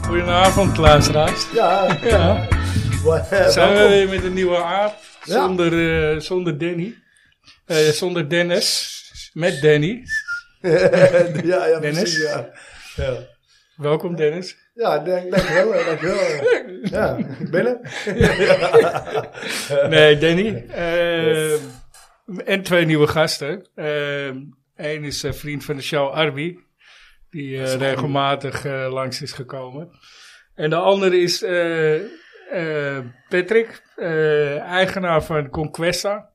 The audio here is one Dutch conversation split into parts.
Goedenavond, luisteraars. Ja, Ja. wa- Zijn we welkom. weer met een nieuwe aap? Ja. Zonder, eh, zonder Danny. Eh, zonder Dennis. Met Danny. ja, ja, Dennis? precies, ja. Ja, Welkom, Dennis. ja dank, dankjewel, hè, dankjewel. Ja, ik ben er. Nee, Danny. Eh, en twee nieuwe gasten. Eén is een vriend van de show, Arby. Die eh, regelmatig eh, langs is gekomen. En de andere is eh, eh, Patrick. eh, eigenaar van Conquesta.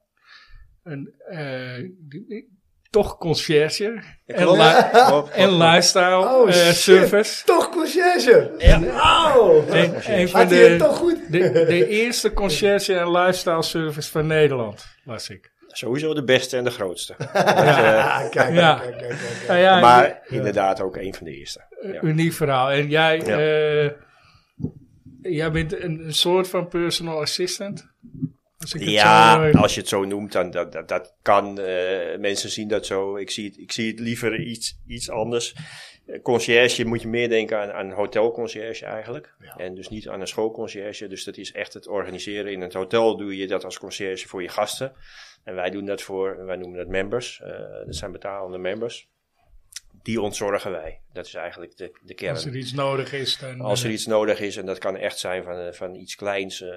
Een, eh, die- toch conciërge. En, klopt. li- Klopt, en klopt. lifestyle Oh, eh, shit. service. Toch conciërge. Ja. Nou, Een- een van had hij het de, toch goed? de, de eerste conciërge en lifestyle service van Nederland, las ik. Sowieso de beste en de grootste. Ah, kijk, Ja. kijk, kijk, kijk, kijk. Nou ja, Eh, maar inderdaad ook een van de eerste. een Ja. uniek verhaal. En jij, Ja. eh, jij bent een, een soort van personal assistant. Als ik het zo, Ja, nou, eh, als je het zo noemt, dan dat, dat, dat kan. eh, mensen zien dat zo. Ik zie het, ik zie het liever iets, iets anders. Eh, Conciërge moet je meer denken aan, aan hotelconciërge eigenlijk. En dus niet aan een schoolconciërge. Dus dat is echt het organiseren. In het hotel doe je dat als conciërge voor je gasten. En wij doen dat voor, wij noemen dat members. Eh, dat zijn betalende members. Die ontzorgen wij. Dat is eigenlijk de, de kern. als er iets nodig is, dan... Als er eh, iets nodig is, en dat kan echt zijn van, eh, van iets kleins, eh,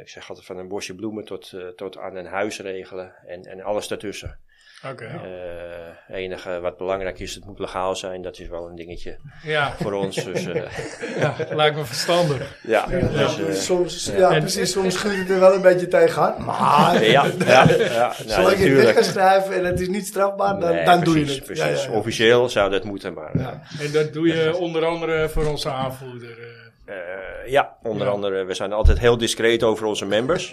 ik zeg altijd van een bosje bloemen tot, eh, tot aan een huis regelen en, en alles daartussen. Oké, Eh, Het enige wat belangrijk is, het moet legaal zijn, dat is wel een dingetje ja. voor ons. Dus, eh, ja, lijkt me verstandig. ja, Ja, dus, eh, soms, ja, En- precies, soms schuurt het er wel een beetje tegenaan. Maar ja, ja, ja, nou, zolang je het weg natuurlijk. gaat schrijven en het is niet strafbaar, dan, Nee, dan doe je precies, het. Ja, Precies. ja, ja. Officieel zou dat moeten, maar eh, Ja. En dat doe je onder andere voor onze aanvoerder. eh. eh, ja, onder Ja. andere, we zijn altijd heel discreet over onze members.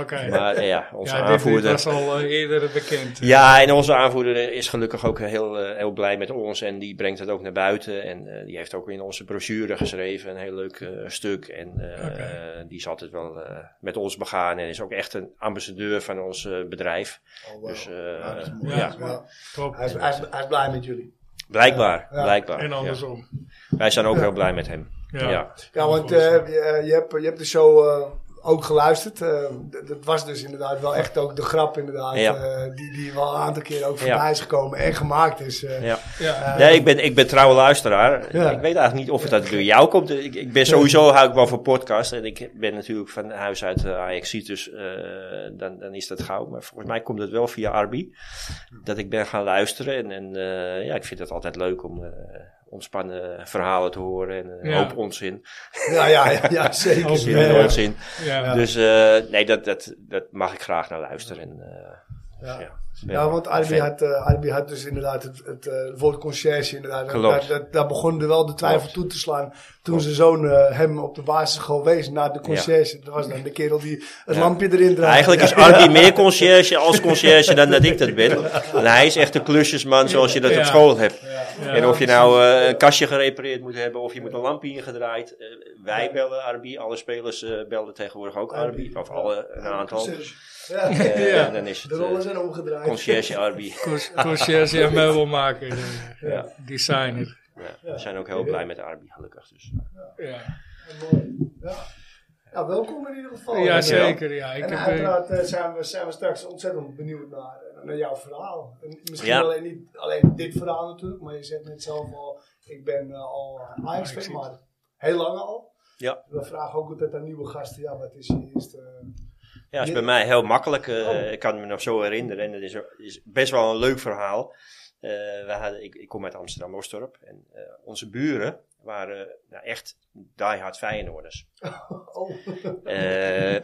Oké. Maar eh, ja, onze Ja, dit- dit, aanvoerder. was al eh, eerder bekend. Ja, en onze aanvoerder is gelukkig ook heel, eh, heel blij met ons. En die brengt het ook naar buiten. En eh, die heeft ook in onze brochure geschreven een heel leuk eh, stuk. En eh, Oké. eh, die is altijd wel eh, met ons begaan. En is ook echt een ambassadeur van ons eh, bedrijf. Oh, wauw. Dus eh, Ja, dat is mooi. ja. Ja. Top. Hij is- hij is- hij is blij met jullie. blijkbaar, Ja. blijkbaar. En ja. andersom. Wij zijn ook heel blij met hem. Ja. Ja. Ja, want eh, je, eh, je, hebt, je hebt de show eh, ook geluisterd. Eh, d- dat was dus inderdaad wel echt ook de grap inderdaad. Ja. eh, die, die wel een aantal keer ook Ja. voorbij is gekomen en gemaakt is. eh. Ja. Ja. Eh, Nee, ik ben, ik ben trouwe luisteraar. Ja. Ik weet eigenlijk niet of het uit door jou komt. Ik, ik ben sowieso, hou ik wel van podcast. En ik ben natuurlijk van huis uit eh, AXC, dus eh, dan, dan is dat gauw. Maar volgens mij komt het wel via Arby. Dat ik ben gaan luisteren. En, en eh, ja, ik vind het altijd leuk om eh, ontspannen verhalen te horen. En een Ja. hoop onzin. ja, ja, ja, ja, zeker. Ook Zin Ja, en ja. onzin. Ja. Dus eh, nee, dat, dat, dat mag ik graag naar luisteren. En, eh, Ja. ja. Ja, want Albi Fan. had, eh, Albi had dus inderdaad het, het eh, woord conciërge inderdaad. Klopt. Daar, daar, daar begon er wel de twijfel Klopt. toe te slaan toen zijn zoon eh, hem op de basisschool wees naar de conciërge. Dat was dan de kerel die het Ja. lampje erin draaide. Eigenlijk is Arby meer conciërge als conciërge dan dat ik dat ben. En hij is echt een klusjesman zoals je dat Ja. op school hebt. Ja. en of je nou eh, een kastje gerepareerd moet hebben of je moet een lampje ingedraaid. eh, wij bellen Arby, alle spelers eh bellen tegenwoordig ook Arby. Of alle, een aantal. Ja, Eh, Ja. En dan is het de rollen eh zijn omgedraaid. conciërge Arby. Cons- Conciërge en meubelmaker. eh, Ja. Designer. Ja, we zijn ook heel blij met Arby gelukkig. Dus. Ja, Mooi. eh, Ja. Ja, welkom in ieder geval. ja En, zeker. Ja. eh, Ik Oh, En heb, eh, uiteraard eh, zijn, we, zijn we straks ontzettend benieuwd naar, eh, naar jouw verhaal. En misschien Ja. alleen, niet alleen dit verhaal natuurlijk, maar je zegt net zelf al, ik ben eh, al ajax Ja, ik zie maar heel lang al. Ja. We vragen ook altijd aan nieuwe gasten, ja, wat is je eerste... Ja, is bij mij heel makkelijk. eh, Oh. Ik kan me nog zo herinneren. En het is, is best wel een leuk verhaal. Eh, we hadden, ik, ik kom uit Amsterdam-Oostdorp. En eh, onze buren waren nou, echt diehard Feyenoorders. oh, Eh, ja.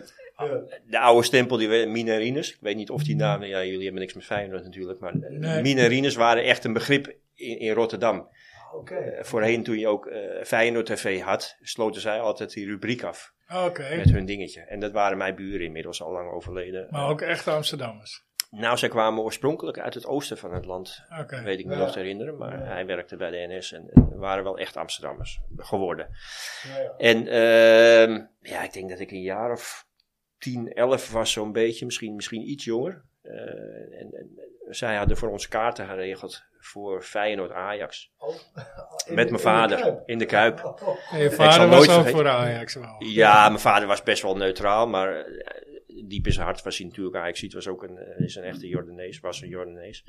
de oude stempel, die we, Minarines. Ik weet niet of die naam... Ja, jullie hebben niks met Feyenoord natuurlijk. Maar eh, Nee. Minarines waren echt een begrip in, in Rotterdam. Ah, oké. Eh, voorheen, toen je ook eh Feyenoord TV had, sloten zij altijd die rubriek af. Oké, Met hun dingetje. En dat waren mijn buren inmiddels al lang overleden. Eh, maar ook echt Amsterdammers. Nou, zij kwamen oorspronkelijk uit het oosten van het land. Oké, Weet ik me Ja. nog te herinneren, maar Ja. hij werkte bij de NS en eh, waren wel echt Amsterdammers geworden. Ja, Nou ja. En ehm, ja, ik denk dat ik een jaar of 10, 11 was zo'n beetje, misschien, misschien iets jonger. Eh, en, en zij hadden voor ons kaarten geregeld voor Feyenoord Ajax. Oh, in- Met in mijn de vader Kuip. in de Kuip. Oh, oh. En je zal vader nooit was al vergeten- voor Ajax wel. Ja, mijn vader was best wel neutraal, maar eh, diep in zijn hart was hij natuurlijk Ajax. was ook een, eh, is een echte Jordanees, was een Jordanees.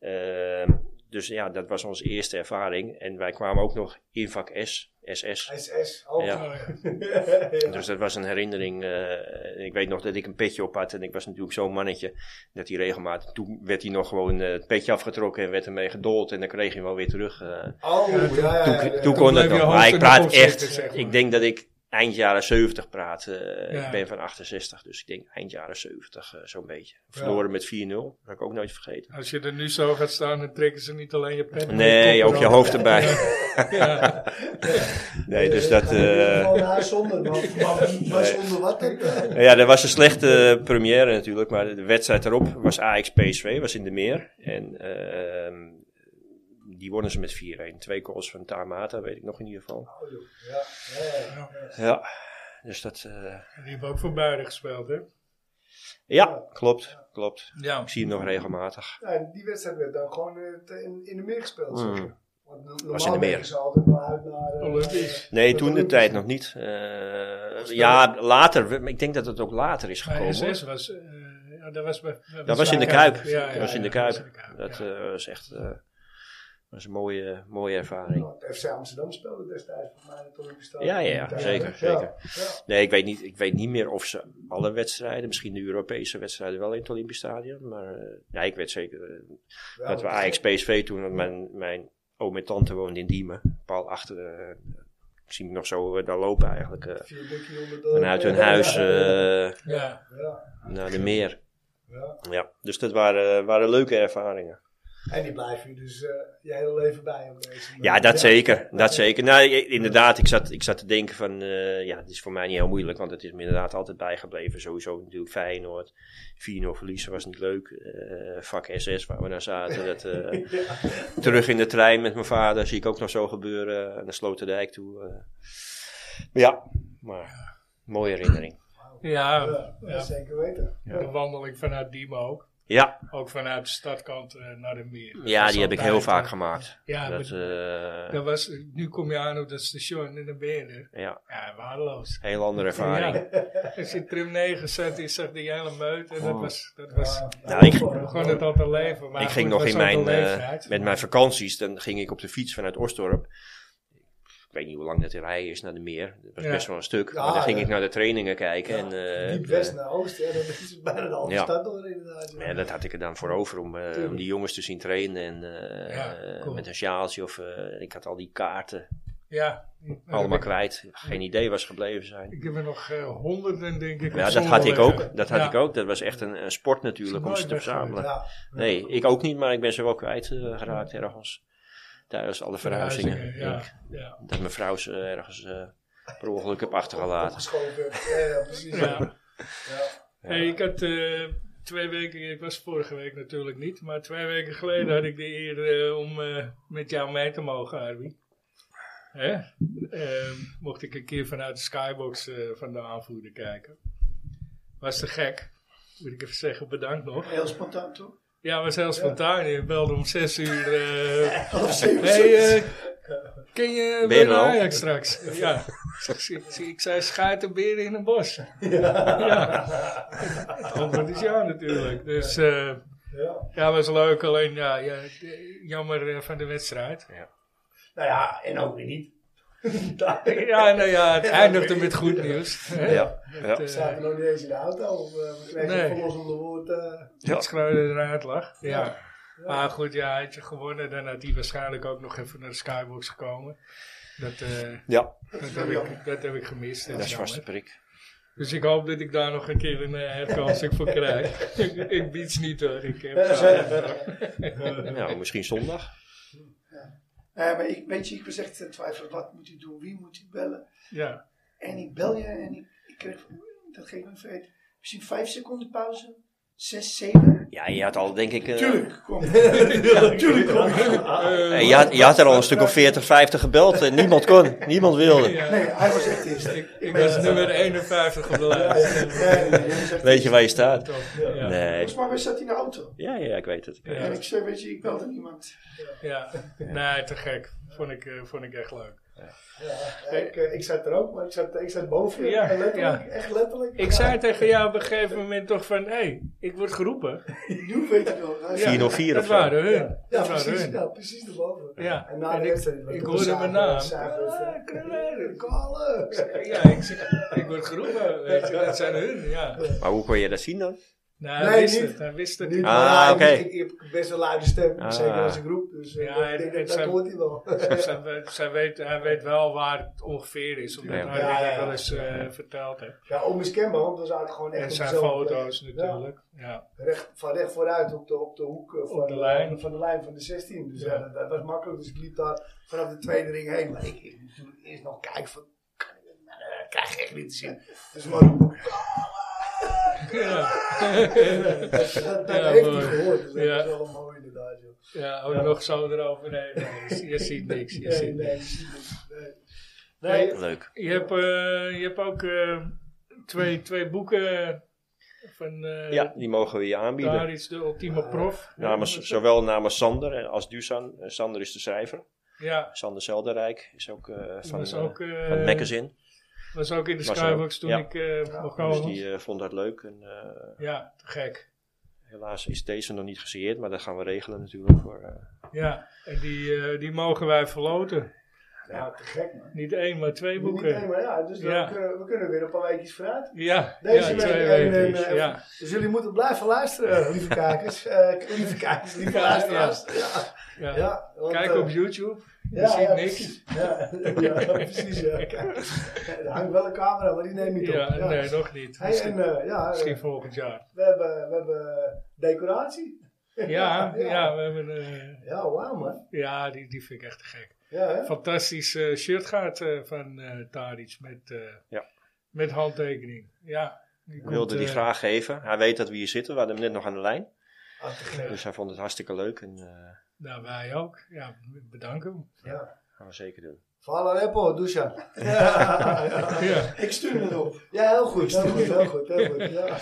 Ehm, dus ja, dat was onze eerste ervaring. En wij kwamen ook nog in vak S, SS. SS. Oh, Ja. Oh, ja. Ja. Dus dat was een herinnering. eh, ik weet nog dat ik een petje op had. En ik was natuurlijk zo'n mannetje. Dat hij regelmatig. Toen werd hij nog gewoon eh, het petje afgetrokken. En werd ermee gedold. En dan kreeg hij hem wel weer terug. eh. Oh, ja, ja, toen ja, ja. toen bleef kon Eh, het je nog. hoofd Maar in ik de praat kop echt. zitten, zeg maar. Ik denk dat ik eind jaren 70 praat. eh, Ja. Ik ben van 68. Dus ik denk eind jaren 70 eh, zo'n beetje. Ja. Verloren met 4-0. Dat heb ik ook nooit vergeten. Als je er nu zo gaat staan, dan trekken ze niet alleen je pen. maar Nee, kop ook je eraf. hoofd erbij. Ja. Nee, dus dat. eh, Gewoon naar zonder, want- want- maar zonder wat dan? Ja, dat was een slechte première natuurlijk, maar de wedstrijd erop was Ajax PSV, was in de meer. En ehm, die wonnen ze met 4-1. Twee goals van Tamata, weet ik nog in ieder geval. Oh, joh. Ja, ja, ja. Ja, dus dat. eh, Die hebben ook voor Buiten gespeeld, hè? ja, klopt, klopt. Ja. Ik zie hem nog regelmatig. Ja, en die wedstrijd werd dan gewoon eh, te- in, in de meer gespeeld. zeg Mm. je. Want no- in normaal de meer. werken ze altijd wel uit naar... eh, Olympisch. Nee, Dat toen de ook. tijd nog niet. Eh, ja, later. Ik denk dat het ook later is Maar gekomen. hoor. SS was... eh, ja, dat was, bij- Dat was in de bij- Kuip. Ja, Dat was in de ja, Kuip. in de Kuip, Dat ja. eh, was echt eh, was een mooie, mooie ervaring. want FC Amsterdam speelde destijds voor mij in het Olympisch Stadion. Ja, ja, ja, zeker, zeker. Ja. Nee, ik weet, niet, ik weet niet meer of ze alle wedstrijden, misschien de Europese wedstrijden wel in het Olympisch Stadion. Maar eh, nee, ik weet zeker eh, Ja, dat we want- Ajax PSV toen, want mijn, mijn oom en tante woonden in Diemen. Paal achter, eh, ik zie me nog zo eh, daar lopen eigenlijk. eh, Vier dikke jongen door- vanuit hun huis eh, Ja. Ja, naar de meer. ja. Ja, dus dat waren, waren leuke ervaringen. En die blijven je dus eh, je hele leven bij. op deze manier. Ja, dat zeker. Dat zeker. Nou, i- inderdaad, ik zat, ik zat te denken van, eh, ja, het is voor mij niet heel moeilijk, want het is me inderdaad altijd bijgebleven. Sowieso natuurlijk Feyenoord, 4-0 verliezen was niet leuk. Eh, vak SS waar we naar zaten, dat, eh, terug in de trein met mijn vader, zie ik ook nog zo gebeuren. Naar Sloterdijk toe. eh. Ja, maar mooie herinnering. Ja, Ja, ja, ja. zeker weten. De wandeling vanuit Diemen ook. Ja, Ook vanuit de stadkant eh, naar de meer. ja Dat die is heb ik heel altijd, vaak eh, gemaakt. Ja, Dat, maar eh, dat was, nu kom je aan op dat station en dan ben je er. ja, Ja, waardeloos. heel andere ervaring. Ja. Als je trim 9 zet, je zag die hele meut. En dat was, dat was Nou, ik- gewoon het altijd leven. Maar Oh. ik ging goed, nog in dat is mijn, ook de eh, leeftijd. met mijn vakanties, dan ging ik op de fiets vanuit Osdorp. Ik weet niet hoe lang dat te rijden is naar de meer. Dat was Ja. best wel een stuk. Ja, maar dan ging ja. ik naar de trainingen kijken. En, eh, Diep west naar oost, hè, dat is bijna de halve Ja. stad door inderdaad. eh, ja, dat had ik er dan voor over om, eh, om die jongens te zien trainen. En, eh, Ja, eh, cool. Met een sjaaltje of... eh, ik had al die kaarten ja, dat allemaal heb ik- kwijt. Geen idee waar ze gebleven zijn. Ik heb er nog eh, honderden, denk ik. Ja, op dat zolder had ik liggen. ook. Dat had Ja. ik ook. Dat was echt een, een sport natuurlijk Is om ze nooit te weggegooid. verzamelen. Ja. Nee, ik ook niet, maar ik ben ze wel kwijt eh, geraakt ergens. Tijdens alle verhuizingen. Ja, Ik- ja. dat mijn vrouw ze ergens eh, per ongeluk heb achtergelaten. Opgeschoven. Ja, ja, precies. ja. Ja. Ja. Hey, ik had eh, twee weken, ik was vorige week natuurlijk niet, maar twee weken geleden had ik de eer eh, om eh, met jou mee te mogen, Arby. Hè? Ehm, mocht ik een keer vanuit de skybox eh, van de aanvoerder kijken. Was te gek. Moet ik even zeggen, bedankt nog. Heel spontaan toch? Ja, was heel spontaan. Je belde om zes uur. eh Half zeven. hey, eh, ken je Ben je er Ben al? Ajax straks? Ja. Ik zei- Ik zei, schuit de beren in een bos. Het antwoord is ja natuurlijk. Dus eh, Ja. ja, was leuk. Alleen ja, ja, eh, jammer eh, van de wedstrijd. Nou ja, en ook weer niet. Ja, nou ja, het eindigde met goed nieuws. hè. Ja, ja. Het, We eh, zaten nog niet eens in de auto. Of, eh, we kregen Nee. van ons onder woord. eh, Ja. dat Schreuder eruit lag. Ja. Maar goed, ja, had je gewonnen, dan had hij waarschijnlijk ook nog even naar de skybox gekomen. Dat, eh, ja, dat, heb, ik, dat heb ik gemist. dat is vast jammer. de prik. Dus ik hoop dat ik daar nog een keer een eh, herkansing voor krijg. ik, ik bied ze niet hoor. Ik heb, Nou, misschien zondag. Eh, maar ik, weet je, ik was echt eh, in twijfel. Wat moet ik doen? Wie moet ik bellen? ja. En ik bel je en ik, ik kreeg, dat geef ik me vergeten, misschien vijf seconden pauze. zes, zeven. Ja, je had al denk ik... eh, Tuurlijk, kom. Tuurlijk, kom. eh, je, had, je had er al een stuk of 40, 50 gebeld en niemand kon. Niemand wilde. Ja, Nee, hij was echt eerst. ik, ik was nummer 51 op de lijst. Nee, nee, jij was echt Weet je waar je staat? Top, ja. Nee. Volgens mij was dat in de auto. Ja, ja, ik weet het. Ik weet Ja. het. En ik zei, weet je, ik belde niemand. Ja, nee, te gek. Vond ik, eh, vond ik echt leuk. Ik, eh, ik zat er ook, maar ik zat, ik zat boven je. Ja, En letterlijk, ja. echt letterlijk. Ik zei tegen jou op een gegeven moment toch van, hé, hey, ik word geroepen. Nu weet ik wel. Hij- 404 Dat of zo. waren hun. Ja, dat waren precies, hun. ja, precies erboven. Ja. En na de wedstrijd. ik hoorde mijn naam. eh, Ah, Krullen. Ja, ik, zeg, ik word geroepen. Weet je, dat zijn hun, ja. Maar hoe kon je dat zien dan? Nou, hij Nee, wist niet. het. Hij wist het. Nu, Ja, Ah, ah, oké. ik, ik heb best een luide stem, Ah. zeker als ik roep. Dus eh, Ja, dat- en- dat- en dat zijn- hoort hij wel. zij weet- zij weet, hij weet wel waar het ongeveer is. Omdat Ja. hij Ja, dat ja, wel eens eh, verteld heeft. ja, onmiskenbaar, want we zaten gewoon echt En op zijn dezelfde plek. foto's Ja, natuurlijk. Ja. recht, van recht vooruit op de, op de hoek eh, van, de lijn. van de lijn van de 16. Dus Ja. ja, dat, dat was makkelijk. Dus ik liep daar vanaf de tweede ring heen. Maar ik, ik moest toen eerst nog kijken van... kan ik- nou, dat krijg ik echt niet te zien. Dus maar Ja, dat, dat Ja, heeft mooi. hij gehoord. Dus dat Ja. is wel mooi inderdaad. Joh. ja ook nog zo eroverheen. Nee, je ziet niks. Je Nee, ziet niks. nee, precies. nee. Nee, Leuk. Je hebt, eh, je hebt ook eh, twee, twee boeken van eh Ja, die mogen we je aanbieden. daar is de Ultieme Prof. Namens, zowel namens Sander als Dusan. Eh, Sander is de schrijver. Ja, Sander Zelderijk is ook eh, van, was eh, ook, eh, van het magazine. was ook in de was Skybox ook, toen ja. ik eh nog Dus kwam. die eh, vond dat leuk. En, eh, Ja, te gek. helaas is deze nog niet gesigneerd, maar dat gaan we regelen natuurlijk. Voor, eh, Ja, en die, eh, die mogen wij verloten. Ja, te gek man. Niet één, maar twee Niet boeken. één, maar ja, dus dan Ja. kunnen we- we kunnen weer een paar weekjes vooruit. Ja, Deze ja, week twee één en, weken. eh, ja. Dus jullie moeten blijven luisteren, lieve kijkers. Eh, lieve kijkers, lieve Ja, luisteraars. Ja. ja. Ja, want, Kijk eh, op YouTube. Je ja, ziet ja, niks. precies. Ja, ja, precies. Ja. Kijk, eh, Er hangt wel een camera, maar die neem je Ja, op. Ja. nee, nog niet. Hey, misschien, en, eh, ja, eh, misschien volgend jaar. we, hebben, we hebben decoratie. Ja, ja. we hebben... eh, Ja, wauw man. ja, die, die vind ik echt te gek. Ja, hè? fantastisch eh, shirt gaat eh, van eh Tadic met, eh, Ja. met handtekening. Ja, die ik wilde komt, die eh, graag geven. Hij weet dat we hier zitten. We hadden hem net nog aan de lijn. Ah, te gek. Dus hij vond het hartstikke leuk. En eh, Nou, wij ook. Ja, bedanken hem. Ja. gaan we zeker doen. Vala Repo, Dusan. Ja, ja. Ja. Ik stuur het op. ja, heel goed. Heel goed, heel goed. Heel goed ja.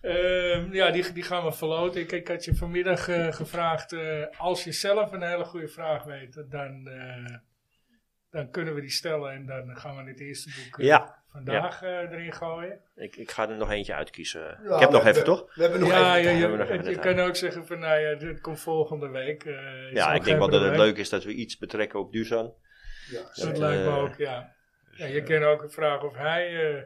Ehm, ja, die, die gaan we verloten. Ik, ik had je vanmiddag eh, gevraagd, eh, als je zelf een hele goede vraag weet, dan, eh, dan kunnen we die stellen en dan gaan we het eerste boek eh, Ja. vandaag eh, erin gooien. Ik, ik ga er nog eentje uitkiezen. Ja, eh, ik heb nog we- even, we- toch? We hebben nog ja, even je, tijd. je, we nog even het- de je tijd. kan ook zeggen van, nou ja, dit komt volgende week. eh, is Ja, ook ik geen denk wel dat het probleem. leuk is dat we iets betrekken op Dusan. Dat Dat, lijkt me eh, ook, ja. ja je kan ook vragen of hij eh,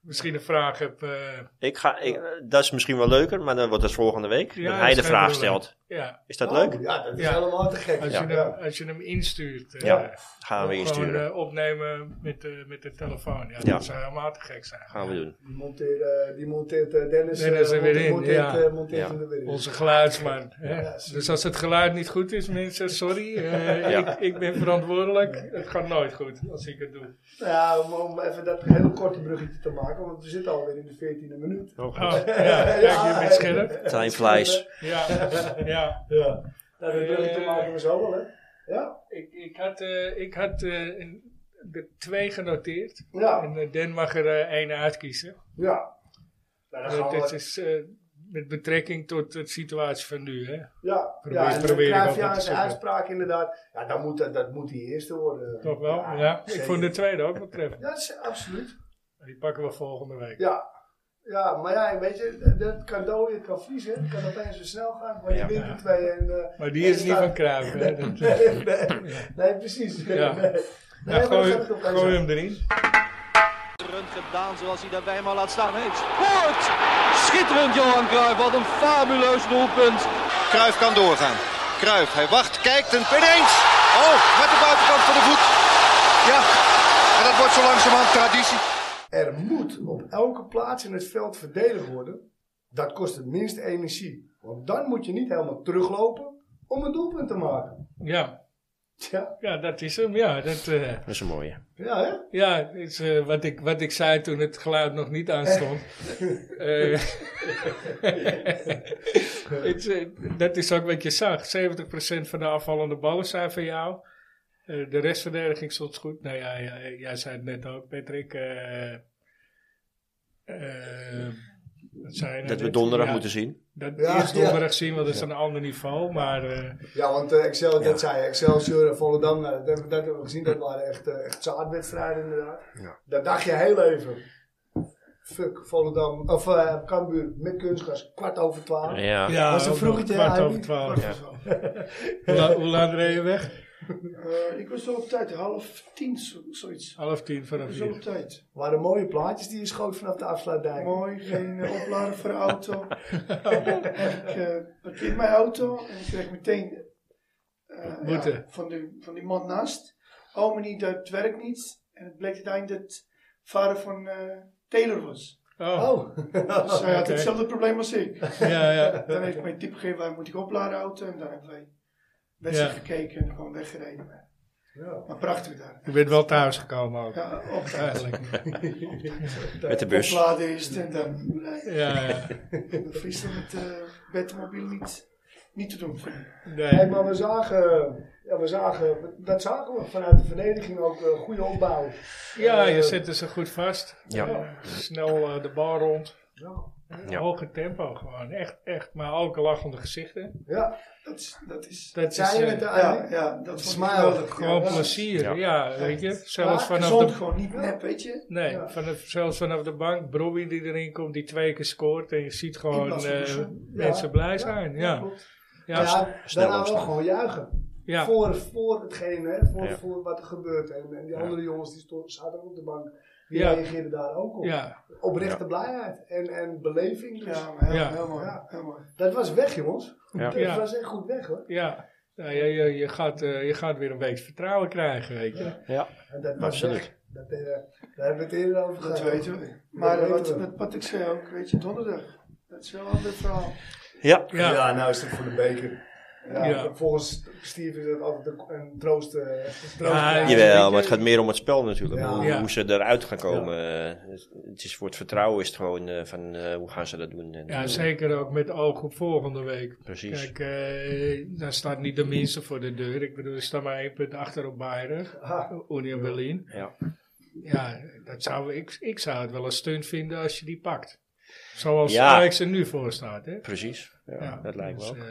misschien een vraag hebt. eh, Ik ga, ik- eh, dat is misschien wel leuker, maar dan wordt het volgende week. Ja, dat dat hij is de geen vraag probleem. stelt. ja, Is dat Oh, leuk? Ja, dat is Ja. helemaal te gek. als, Ja. je hem, als je hem instuurt. eh, Ja, Gaan we gewoon, insturen. eh, opnemen met de, met de telefoon. Ja, Ja. dat zou helemaal te gek zijn. Gaan we doen. Die monteert, eh, die monteert eh, Dennis, Dennis eh, er weer in, monteert, ja. eh, monteert Ja. hem er weer in. Onze geluidsman. Hè? Ja, zeker. dus als het geluid niet goed is, mensen, sorry. eh, Ja. ik, ik ben verantwoordelijk. Het gaat nooit goed als ik het doe. Nou Ja, om, om even dat hele korte bruggetje te maken, want we zitten alweer in de 14e minuut. Oh, ja, kijk, je bent scherp. Time flies. Ja, ja. Ja. Nou, Dat het bruggetje Eh, maken we zo wel, hè? Ja. Ik, ik had, eh, ik had eh, een- de twee genoteerd. Ja. En eh, Den mag er eh, één uitkiezen. Ja. Nou, dan gaan we- Dat is eh, met betrekking tot de situatie van nu. Hè? ja, Probeer- ja, en de probeer ik altijd te Cruyffiaanse zoeken. uitspraak inderdaad. Ja, dat moet, dat, dat moet die eerste worden. Toch wel? Ja. Ik zeker. vond de tweede ook wel treffend. Ja, is- absoluut. Die pakken we volgende week. Ja. Ja, maar ja, weet je, dat- dat kan dooien, het kan vriezen, het kan opeens zo snel gaan, maar je Ja. wint er twee en... eh, Maar die is en niet staat- van Kruijf. Hè? dus- Dat, nee, nee, nee, precies. Ja. Nee, nee, nou, maar dat gooi, gaat het ook wel gooi zo. hem erin. Schitterend gedaan zoals hij dat bij hem al laat staan heeft. Scoort! Schitterend Johan Cruijff, wat een fabuleus doelpunt. Kruif kan doorgaan. Kruif, hij wacht, kijkt en ineens. Oh, met de buitenkant van de voet. Ja, en dat wordt zo langzamerhand traditie. Er moet op elke plaats in het veld verdedigd worden. Dat kost het minst energie. Want dan moet je niet helemaal teruglopen om een doelpunt te maken. Ja. Ja, Ja, dat is hem. Ja, dat, eh, Dat is een mooie. ja hè? ja het is, eh, wat, ik, wat ik zei toen het geluid nog niet aanstond. Eh, het, eh, dat is ook wat je zag. 70% van de afvallende ballen zijn van jou. Eh, de restverdediging stond goed. Nou ja, ja, jij zei het net ook, Patrick. eh, eh, wat zei je nou Dat we net? donderdag Ja, moeten zien. Dat Ja, eerst donderdag zien, want dat is een ander niveau. Maar eh, Ja, want eh, Excel, dat zei je, Excelsior en Volendam, nou, dat, hebben- dat hebben we gezien, dat waren echt, eh, echt zaadwedstrijden inderdaad. Ja. Dat dacht je heel even. Fuck, Volendam, of eh Cambuur met kunstgas, kwart over twaalf. Ja. ja, Was een ook nog vroegetje, kwart Ivy? over twaalf. Kwart over Hoe, la- hoe laat reed je weg? Eh, ik was zo op tijd, half tien, zo- zoiets. Half tien vanaf Zo op hier. tijd. Waren mooie plaatjes die je schoot vanaf de afsluitdijk. Mooi, geen eh, oplader voor de auto. ik eh parkeerde mijn auto en ik kreeg meteen eh, Boete. ja, van, die, van die man naast. Oh meneer, dat werkt niet. En het bleek uiteindelijk dat het vader van eh, Taylor was. Oh, Oh, Dus hij had Oké. hetzelfde probleem als ik. ja, ja. Dan heeft hij mij tip gegeven waar moet ik opladen auto. En dan hebben wij wedstrijd Ja. gekeken en gewoon weggereden. Maar, maar prachtig daar. Je bent wel thuis gekomen ook. Ja, op tijd. Eigenlijk. Met de bus. Opladen is en dan eh, Ja, ja. dat is dan met eh bedmobiel niet, niet te doen. hey, Nee. maar we zagen, ja, we zagen, dat zagen we vanuit de verdediging ook, eh, goede opbouw. ja, Eh, je zette ze goed vast. Ja. Snel eh, de bal rond. Ja. Ja. Hoge tempo gewoon. Echt, echt. Maar ook lachende gezichten. Ja, Dat is, dat is Dat zei is je eh, het ja, eigenlijk? ja, dat is Smile. geweldig. gewoon ja. plezier. Ja. Ja. weet je. Zelfs Vanaf vanaf gezond, de... gewoon niet nep, weet je. Nee, Ja. vanaf, zelfs vanaf de bank. Brobbie die erin komt, die twee keer scoort. En je ziet gewoon plaats van eh, Boesem. mensen dus Ja. blij zijn. Ja, klopt. ja. Ja, ja. snel daarna wel opstaan. gewoon juichen. Voor, voor hetgeen, hè, voor, Ja. voor wat er gebeurt. En, en die Ja. andere jongens die sto- zaten ook op de bank, die Ja. reageerden daar ook op. ja. Oprechte Ja. blijheid en, en beleving. Dus Ja, maar heel, Ja. heel mooi. Ja. Heel mooi. Dat was weg, jongens. Ja. Dat Ja. was echt goed weg, hoor. Ja, nou, je, je, je, gaat, eh, je gaat weer een week vertrouwen krijgen, weet je. Ja. En dat was Absoluut. weg. Dat, eh, daar hebben we het eerder over Dat gehad. weten we. Maar Maar eh, wat, wat, wat Patrick zei ook, weet je, donderdag. Dat is wel een ander verhaal. Ja. Ja, ja. nou is het voor de beker. Ja, Ja. Volgens Steve is dat altijd een, een troost. eh, troost Ja, Jawel, maar het gaat meer om het spel natuurlijk. Ja. Hoe, Ja. hoe ze eruit gaan komen. Eh, het- Het is voor het vertrouwen is het gewoon eh, van eh, hoe gaan ze dat doen. En, eh, zeker ook met oog op volgende week. Precies. Kijk, eh, daar staat niet de minste voor de deur. Ik bedoel, er staat maar één punt achter op Bayern, Ah. Union Berlin. Ja. Ja, dat zou, ik, ik zou het wel een stunt vinden als je die pakt. Zoals Ja. Ajax er nu voor staat, hè. Precies. Ja, Dat lijkt me dus, ook. eh,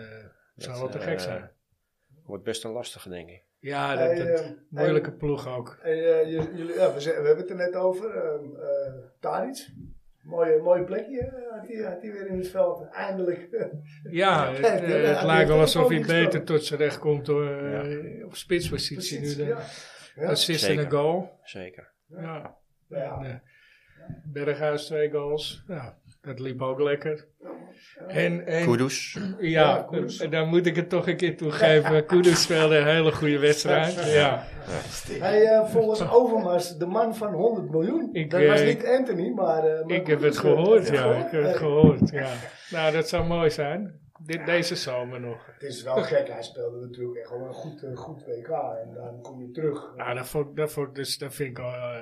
Dat, zou wel te eh, gek zijn. Wordt best een lastige, denk ik. Ja, dat, Hey, dat- eh, moeilijke ploeg ook. En, eh, jullie- jullie- ja, we, ze- we hebben het er net over. ehm eh Tadic. Mooie, mooie plekje hè, had hij, had hij weer in het veld. Eindelijk. Ja, Ja, het, kijk, eh, ja, het die heeft lijkt wel ook alsof hij gewoon niks beter gedaan. tot zijn recht komt door, eh, op spitspositie nu. Precies, Dan. ja. Ja, Assist en een zeker. goal. Zeker. Ja. Nou Ja. En, eh, Berghuis twee goals. Ja, dat liep ook lekker. En, en Kudus. ja, eh, daar moet ik het toch een keer toe geven. Kudus speelde een hele goede wedstrijd. Ja, Hij eh, volgens Overmars de man van 100 miljoen. Ik, dat was eh, niet Anthony, maar... eh, maar ik heb het eh, gehoord. heb je Ja, ik heb het Eh, gehoord. Ja. Nou, dat zou mooi zijn. Dit, deze zomer nog. Het is wel gek. Hij speelde natuurlijk echt wel een goed, eh, goed WK. En dan kom je terug. Nou, dat, vond, ik- dat, vond, ik dus, dat vind ik, al, eh,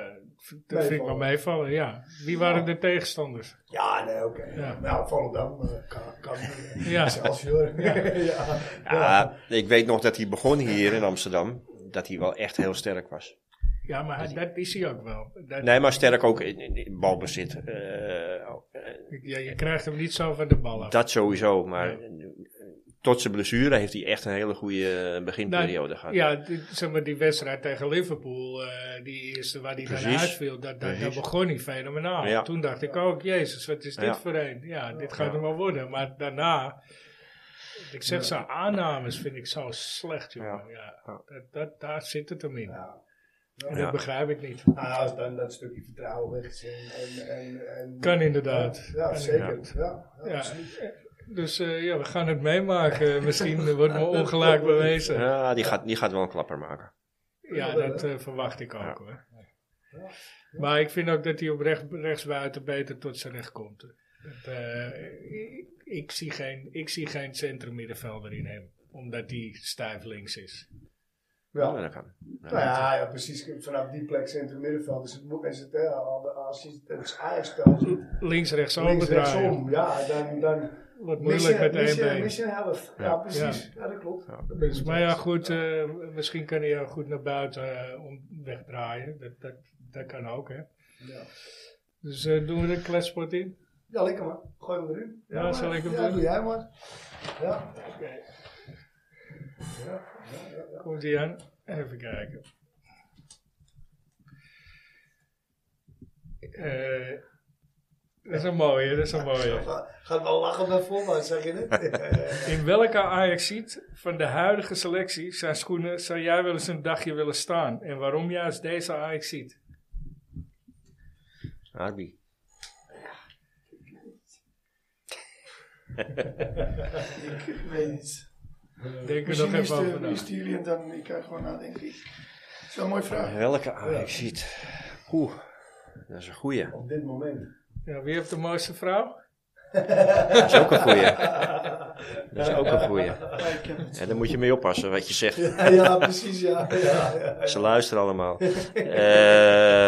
dat vind ik wel Meevallen. meevallen. Ja. Wie waren de tegenstanders? Ja, nee, oké. Ja. Nou, Volendam eh, kan... kan eh, Ja. Excelsior. Ja. ja. Ja, ik weet nog dat hij begon hier in Amsterdam. Dat hij wel echt heel sterk was. Ja, maar hij- dat is hij ook wel. Dat- Nee, maar sterk ook in, in- in balbezit. Eh, ja, je krijgt hem niet zo van de bal af. dat sowieso. Maar eh, tot zijn blessure heeft hij echt een hele goede eh, beginperiode gehad. Nou, Ja, die- zeg maar, die wedstrijd tegen Liverpool, eh, die eerste waar hij dan Precies. uitviel, dat, dat, dat Precies. begon hij fenomenaal. Ja. Toen dacht ik ook, jezus, wat is dit Ja. voor een? Ja, dit gaat hem wel worden. Maar daarna, ik zeg, zijn aannames vind ik zo slecht, jongen. Ja. Dat, dat, daar zit het hem in. En Ja. dat begrijp ik niet. Nou, als dan dat stukje vertrouwen weg is en... en, en, en Kan inderdaad. Ja, Kan zeker. Ja, ja, Ja. absoluut. Dus eh, ja, we gaan het meemaken. Misschien wordt me ongelijk bewezen. Ja, Ah, die gaat, die gaat wel een klapper maken. Ja, dat eh, verwacht ik ook Ja. hoor. Maar ik vind ook dat hij op recht, rechtsbuiten beter tot zijn recht komt. Dat, eh, ik, ik zie geen, ik zie geen centrummiddenvelder in hem, omdat hij stijf links is. Ja. Ja. dan gaan we. Nou ja, ja, precies. Vanaf die plek centrum middenveld is het, mo- is het hè, als je het Ajax-spel ziet, Links, rechts, links, overdraaien. rechtsom, ja, dan, dan Wordt mis je, moeilijk met mis één je, been. mis je een helft. Ja, Ja. precies. Ja. dat klopt. Ja. Dat ben ik met je Maar ja, eens. goed, eh, misschien kan hij jou goed naar buiten eh, om wegdraaien. Dat, dat, dat kan ook, hè. Ja. Dus eh, doen we de kletspot in? Ja, lekker maar. Gooi hem erin. Ja, maar- zal ik hem ja, doen? doe jij maar. Ja. Komt ie aan? Even kijken. Eh, dat is een mooie, dat is een mooie. Gaat wel lachen naar voorwaarts, zeg je net? In welke Ajaxiet van de huidige selectie zijn schoenen zou jij wel eens een dagje willen staan? En waarom juist deze Ajaxiet? Arby. Ik weet niet. Denk er nog Misschien is even de, over wie na. is de Julian dan? Ik kan gewoon nadenken. Dat is wel een mooie vraag. Welke Ajax ziet? Oeh, dat is een goeie. Op dit moment. Ja, wie heeft de mooiste vrouw? Dat is ook een goeie. Dat is ook een goeie. Ja, ik heb het. En daar moet je mee oppassen wat je zegt. Ja, ja, precies, ja. ja, ja. Ze luisteren allemaal. Eh,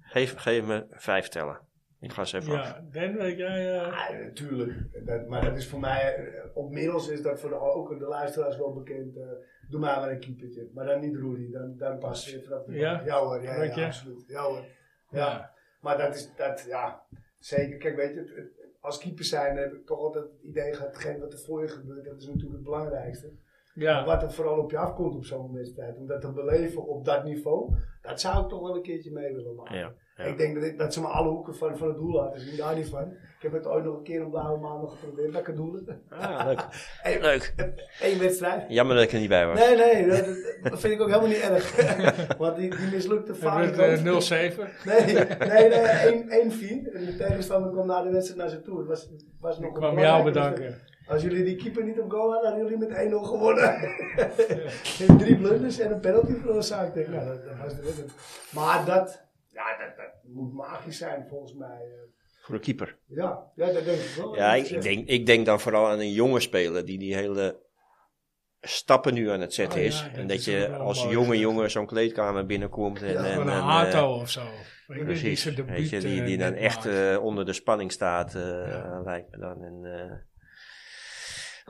geef, geef me vijf tellen. Ik ga ze even af. Ja, Dan weet jij. eh, Ja, natuurlijk. Dat, maar dat is voor mij, eh, op middels is dat voor de, ook de luisteraars wel bekend. eh, doe maar maar een keepertje. Maar dan niet Roelie, dan, dan pas je vanaf de Ja? bank. ja hoor, ja, Dank je. ja, absoluut. Ja hoor. Ja. Ja. Maar dat is, dat, ja, zeker. Kijk, weet je, het- het- als keeper zijn heb ik toch altijd het idee gehad, hetgeen wat er voor je gebeurt, dat is natuurlijk het belangrijkste. ja, Wat er vooral op je afkomt op zo'n wedstrijd, om dat te beleven op dat niveau, dat zou ik toch wel een keertje mee willen maken. Ja, Ik ja. denk dat, ik- dat ze me alle hoeken van, van het doel laten zien, daar niet van. Ik heb het ooit nog een keer een blauwe maandag geprobeerd, lekker doelen. Ah, leuk. Eén leuk. één wedstrijd. Jammer dat ik er niet bij was. Nee, nee, dat, dat- dat vind ik ook helemaal niet erg. Want die, die mislukte het vaak. werd eh, 0-7. Nee, nee, nee, 1-4. En de tegenstander kwam na de wedstrijd naar ze toe. Het was, was nog Ik een kwam jou belangrijke bedanken. wedstrijd. Als jullie die keeper niet op goal hadden, hadden jullie met 1-0 gewonnen. En Drie blunders en een penalty veroorzaakt. Ik denk, Nou, dat, dat was de wedstrijd. Maar dat, ja, dat, dat moet magisch zijn volgens mij. eh. Voor de keeper. Ja, ja dat denk ik wel. Ja, Dat ik, is, ik eh, denk, ik denk dan vooral aan een jonge speler die die hele stappen nu aan het zetten Oh ja, is. ja, en dat dat is ook je wel als mooi jonge gezegd. jongen zo'n kleedkamer binnenkomt. En, en, Van een en, eh, Hato of zo. Weet je, die precies. zijn debuut, Weet je, die, eh, die dan net echt maakt. eh, onder de spanning staat, eh, Ja. lijkt me dan. En, eh,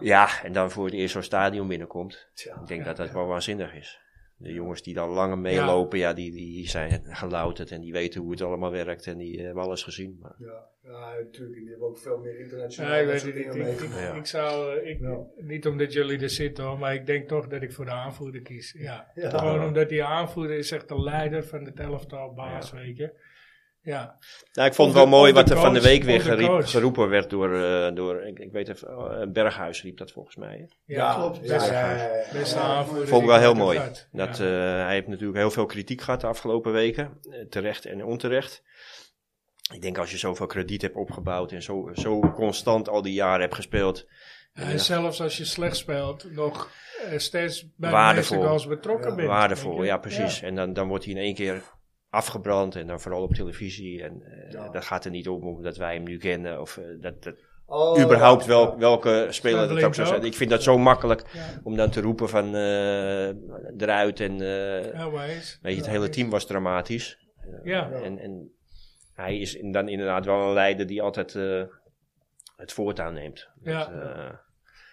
ja, en dan voor het eerst zo'n stadion binnenkomt. tja. Ik denk dat dat wel waanzinnig is. De jongens die dan langer meelopen, ja. die, die zijn gelouterd en die weten hoe het allemaal werkt en die hebben alles gezien. Maar Ja, ja, natuurlijk. Die hebben ook veel meer internationaal Ja, ik dat weet soort het niet. dingen Ik, ik, meegemaakt. Ja. ik zou, eh, ik, Ja. niet omdat jullie er zitten hoor, maar ik denk toch dat ik voor de aanvoerder kies. Ja. Ja. Gewoon omdat die aanvoerder is echt de leider van het elftal baas, weet je. Ja. Nou, ik vond Of het wel de- mooi of de wat er van de coach, week weer of de geriep- coach. geroepen werd door, eh, door ik, ik weet even, eh, Berghuis riep dat volgens mij. hè. Ja, klopt. Best, Ja, ja, ja, ja. beste aanvoerder. Vond ik wel heel dat mooi. had. Dat, Ja. eh, hij heeft natuurlijk heel veel kritiek gehad de afgelopen weken, eh, terecht en onterecht. Ik denk als je zoveel krediet hebt opgebouwd en zo, zo constant al die jaren hebt gespeeld, en zelfs als je slecht speelt, nog eh, steeds bij Waardevol. de meeste goals betrokken bent. waardevol, weet je. ja precies. En dan, dan wordt hij in één keer afgebrand en dan vooral op televisie. En eh, Ja. dat gaat er niet om omdat wij hem nu kennen of eh, dat, dat Oh, überhaupt ja. wel, welke Staat speler dat ook links zou zijn. ook. Ik vind dat zo makkelijk Ja. om dan te roepen van eh, eruit en eh, Ja, maar eens. weet je, het hele team was dramatisch. Ja. En, en hij is in- dan inderdaad wel een leider die altijd eh, het voortouw neemt. Ja. Dat, eh,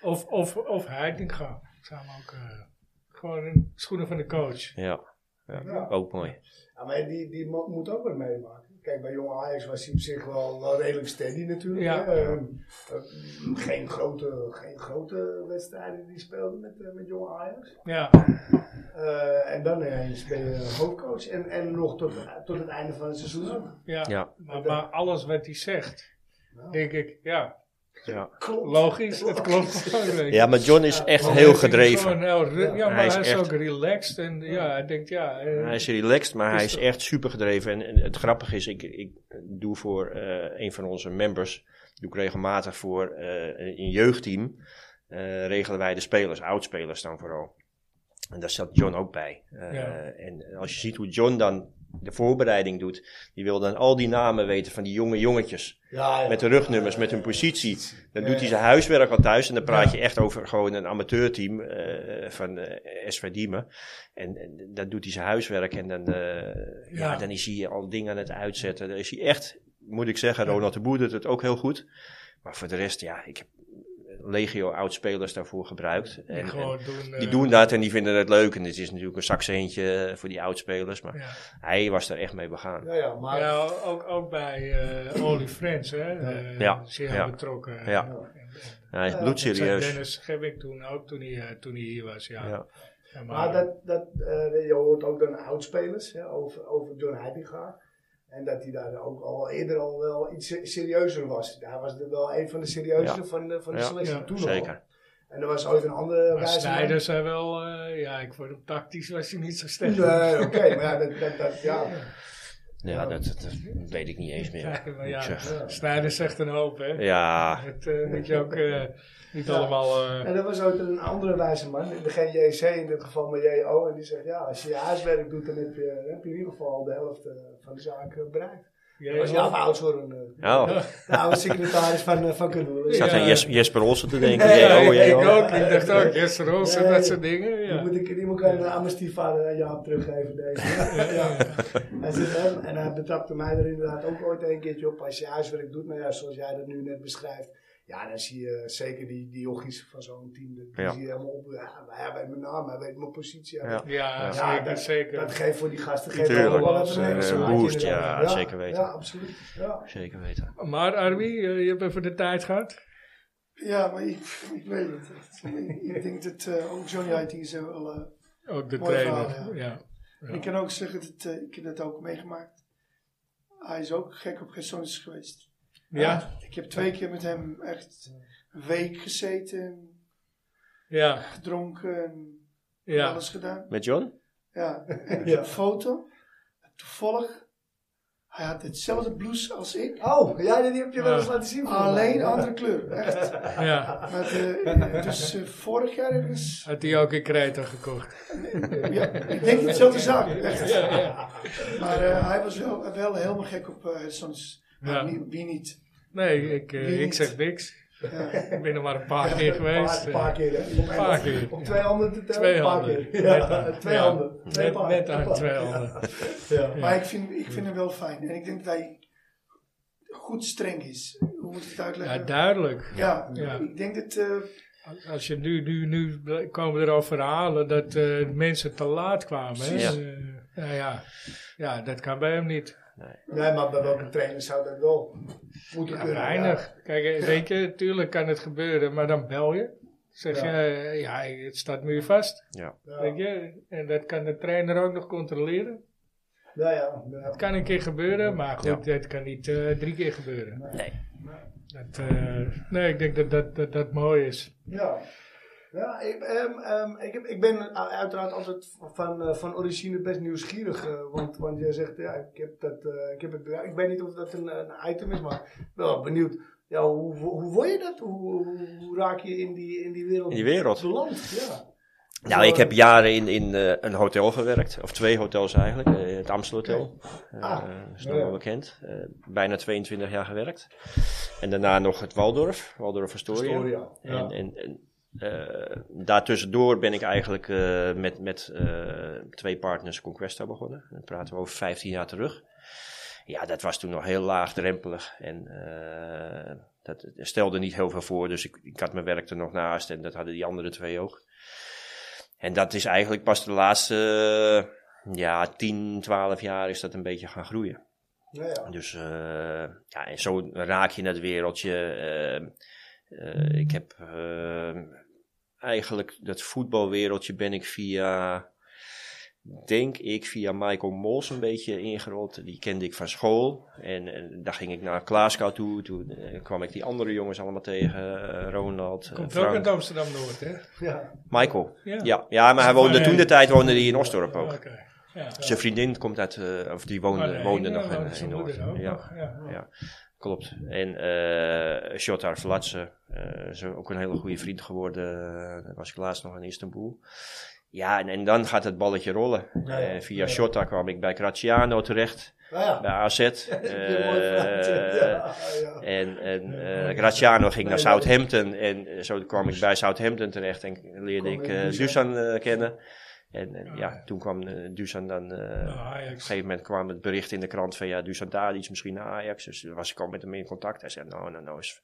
Of, of, of Heitinga. Samen ook eh, gewoon in schoenen van de coach. ja. Ja, Ja. ook mooi. Ja, maar die, die mo- moet ook wat meemaken. Kijk, bij jonge Ajax was hij op zich wel, wel redelijk steady natuurlijk. Ja. hè. Ehm, eh, geen, grote, geen grote wedstrijden die speelden met, eh, met jonge Ajax. Ja, Eh, en dan ineens ben je hoofdcoach. En, en nog tot, tot het einde van het seizoen ook. ja. Ja, Maar, maar alles wat hij zegt, denk ik, ja, ja. Klopt. logisch, het klopt gewoon. weet je. ja maar John is echt Maar heel hij is gedreven. gewoon heel ru- ja, maar hij is, echt- ook relaxed en ja, hij denkt ja. eh, Hij is relaxed, maar hij Dus is dat- echt super gedreven. En, en het grappige is, ik, ik doe voor eh, een van onze members, doe ik regelmatig voor eh, een jeugdteam, eh, regelen wij de spelers, oudspelers dan vooral. En daar zat John ook bij. Eh, Ja. En als je ziet hoe John dan de voorbereiding doet, die wil dan al die namen weten van die jonge jongetjes. Ja, ja. Met de rugnummers, met hun positie. Dan doet hij zijn huiswerk al thuis. En dan praat je echt over gewoon een amateurteam eh, van eh SV Diemen. En, en dan doet hij zijn huiswerk. En dan, eh, ja. Ja. dan is hij al dingen aan het uitzetten. Dan is hij echt, moet ik zeggen, Ronald de Boer doet het ook heel goed. Maar voor de rest, ja, ik heb legio oudspelers daarvoor gebruikt. En, en Gewoon doen, die eh, doen dat en die vinden het leuk. En het is natuurlijk een zakseentje voor die oudspelers. Maar Ja. hij was daar echt mee begaan. Ja, ja, maar Ja, ook, ook bij eh Only Friends, hè? eh, Ja, Zeer ja. betrokken. Ja. Hij is Serieus. bloedserieus. Dennis Gebik toen ook, toen hij, eh, toen hij hier was, ja. Ja. Ja, Maar dat, dat, eh, je hoort ook dan oudspelers hè, over, over John Heitinga. En dat hij daar ook al eerder al wel iets se- serieuzer was. Hij was er wel een van de serieuzere Ja. van de, van de Ja, selectie ja, toen Zeker. al. En er was ooit een andere Maar wijze man. Snijders zijn wel, eh, ja, ik vond hem tactisch was hij niet zo sterk. Nee, oké, maar ja, dat, dat, dat, ja. Ja, dat, dat, dat weet ik niet eens meer. Ja, moet maar ik ja, zeggen. Snijders zegt een hoop, hè? ja. Het eh, moet je ook eh, niet allemaal... eh, En er was ooit een andere wijze man, geen JC in dit geval, maar JO. En die zegt, ja, als je je huiswerk doet, dan heb je, dan heb je in ieder geval de helft eh, van de zaak eh, bereikt. ja, Dat was ja. Jaap Oudshoorn, eh, Oh, de oude secretaris van, eh, van Kanoel. ik zat aan Ja. Jes- Jesper Olsen te denken. Ja, Jee, oh, jee, ik oh. ook. Ik dacht ook, yes, Roos en Nee. dat soort dingen. Ja. Die moet ik, die moet ik aan de amnestievader aan Jaap teruggeven. Deze. ja. Hij zit hem en hij betrapte mij er inderdaad ook ooit een keertje op. Als je huiswerk doet, nou ja, zoals jij dat nu net beschrijft. Ja, dan zie je zeker die, die jochies van zo'n team. Die Ja. zie je helemaal op. Ja, maar hij weet mijn naam, hij weet mijn positie. hij Ja. weet- Ja, Ja, zeker. dat, zeker. dat geeft voor die gasten geeft Tuurlijk. ook wel even Zeker. extra Een haakje eh, boost, inderdaad. ja, zeker weten. Ja, absoluut. Ja. Zeker weten. Maar Arby, eh, je hebt even de tijd gehad. Ja, maar ik, ik weet het. Ik- ik denk dat eh, ook Johnny Heiting is wel... eh, Ook de Mooi trainer. verhaal, ja. Ja. Ik kan ook zeggen, dat, eh, ik heb dat ook meegemaakt. Hij is ook gek op gezondheid geweest. Ja. Ik heb twee keer met hem echt een week gezeten, ja, gedronken, ja. alles gedaan. Met John? Ja, en ik Ja. heb een foto. Toevallig, hij had hetzelfde blouse als ik. Oh, ja, die die heb je wel eens Ja. laten zien. volgens mij. Alleen andere kleur, echt. ja. Maar de, dus eh, vorig jaar ergens, Had hij ook in Kreta gekocht. ja, ik denk hetzelfde zaak, echt. Maar eh, hij was wel, wel helemaal gek op eh soms, maar Ja. wie, wie niet. Nee, ik, eh, Wie ik niet? zeg niks. Ja. Ik ben er maar een paar keer geweest. Een paar, paar keer, hè? Op, Een paar keer. op twee handen te tellen? Twee een paar handen. keer. Ja, Net aan. twee Ja. handen. Twee Net, paar. net aan twee handen. Ja. Maar ik vind, ik vind hem wel fijn. En ik denk dat hij goed streng is. Hoe moet ik het Ja, uitleggen? Ja, duidelijk. Ja. ik denk dat... eh, Als je nu, nu, nu komen er al verhalen dat eh, mensen te laat kwamen. Hè? Ja. Eh, ja, ja. ja, dat kan bij hem niet. Nee, maar bij welke trainer zou dat wel moeten Ja, kunnen? weinig. Kijk, eh, weet je, tuurlijk kan het gebeuren, maar dan bel je. Zeg Ja. je, eh, ja, het staat muurvast. Ja. Ja, ja, Weet je? En dat kan de trainer ook nog controleren. ja, ja, ja. Het kan een keer gebeuren, maar goed, het kan niet eh, drie keer gebeuren. Nee. Dat, eh, nee, ik denk dat dat, dat, dat mooi is. ja. Ja, ik, ehm, ehm, ik, heb- ik ben u- uiteraard altijd van, eh, van origine best nieuwsgierig. eh, want, want jij zegt, ja, ik heb dat, eh, ik heb het, bereikt. ik weet niet of dat een, een item is, maar wel benieuwd. Ja, hoe, hoe, hoe word je dat? Hoe, hoe- hoe raak je in die, in die wereld In die wereld. beland? Ja. Nou, ik heb jaren in, in eh, een hotel gewerkt. Of twee hotels eigenlijk. Eh, het Amstelhotel. Eh Ah. is nog wel Ja. bekend. Eh, bijna 22 jaar gewerkt. En daarna nog het Waldorf. Waldorf Astoria. Astoria, ja. En, en, en eh, daartussendoor ben ik eigenlijk eh, met, met eh, twee partners Conquesta begonnen. Dan praten we over 15 jaar terug. Ja, dat was toen nog heel laagdrempelig. En eh, dat stelde niet heel veel voor. Dus ik, ik had mijn werk er nog naast. En dat hadden die andere twee ook. En dat is eigenlijk pas de laatste eh, ja, 10, 12 jaar is dat een beetje gaan groeien. Ja, ja. Dus eh, ja, en zo raak je in dat wereldje. eh, eh, ik heb eh, eigenlijk dat voetbalwereldje ben ik via, denk ik, via Michael Mols een beetje ingerold. Die kende ik van school. En, en daar ging ik naar Glasgow toe. Toen eh, kwam ik die andere jongens allemaal tegen. eh, Ronald, eh, Komt ook Frank. uit Amsterdam-Noord, hè? ja. Michael. Ja. Ja, ja, maar hij woonde Nee. toen de tijd woonde hij in Osdorp ook. Oké. Ja. Zijn vriendin komt uit, eh, of die woonde, Ah, nee, woonde ja, nog in, woonde zijn in Noord. moeder ook Ja, nog, ja. ja, klopt. En eh Shotar Vlatsen, eh, is ook een hele goede vriend geworden. Daar was ik laatst nog in Istanbul. Ja, en, en dan gaat het balletje rollen. Eh, via ja. Shota kwam ik bij Graziano terecht, Nou ja. bij AZ. Dat heb je mooi verhaald, ja. Eh, Ja, ja. En, en eh, Graziano ging naar Southampton en eh, zo kwam ik bij Southampton terecht en leerde ik eh, Dusan eh, kennen. En, en ja, toen kwam eh, Dusan dan, eh, op een Ajax. gegeven moment kwam het bericht in de krant van ja, Dusan Tadic misschien naar Ajax. Dus toen was ik al met hem in contact. Hij zei nou, nou, nou is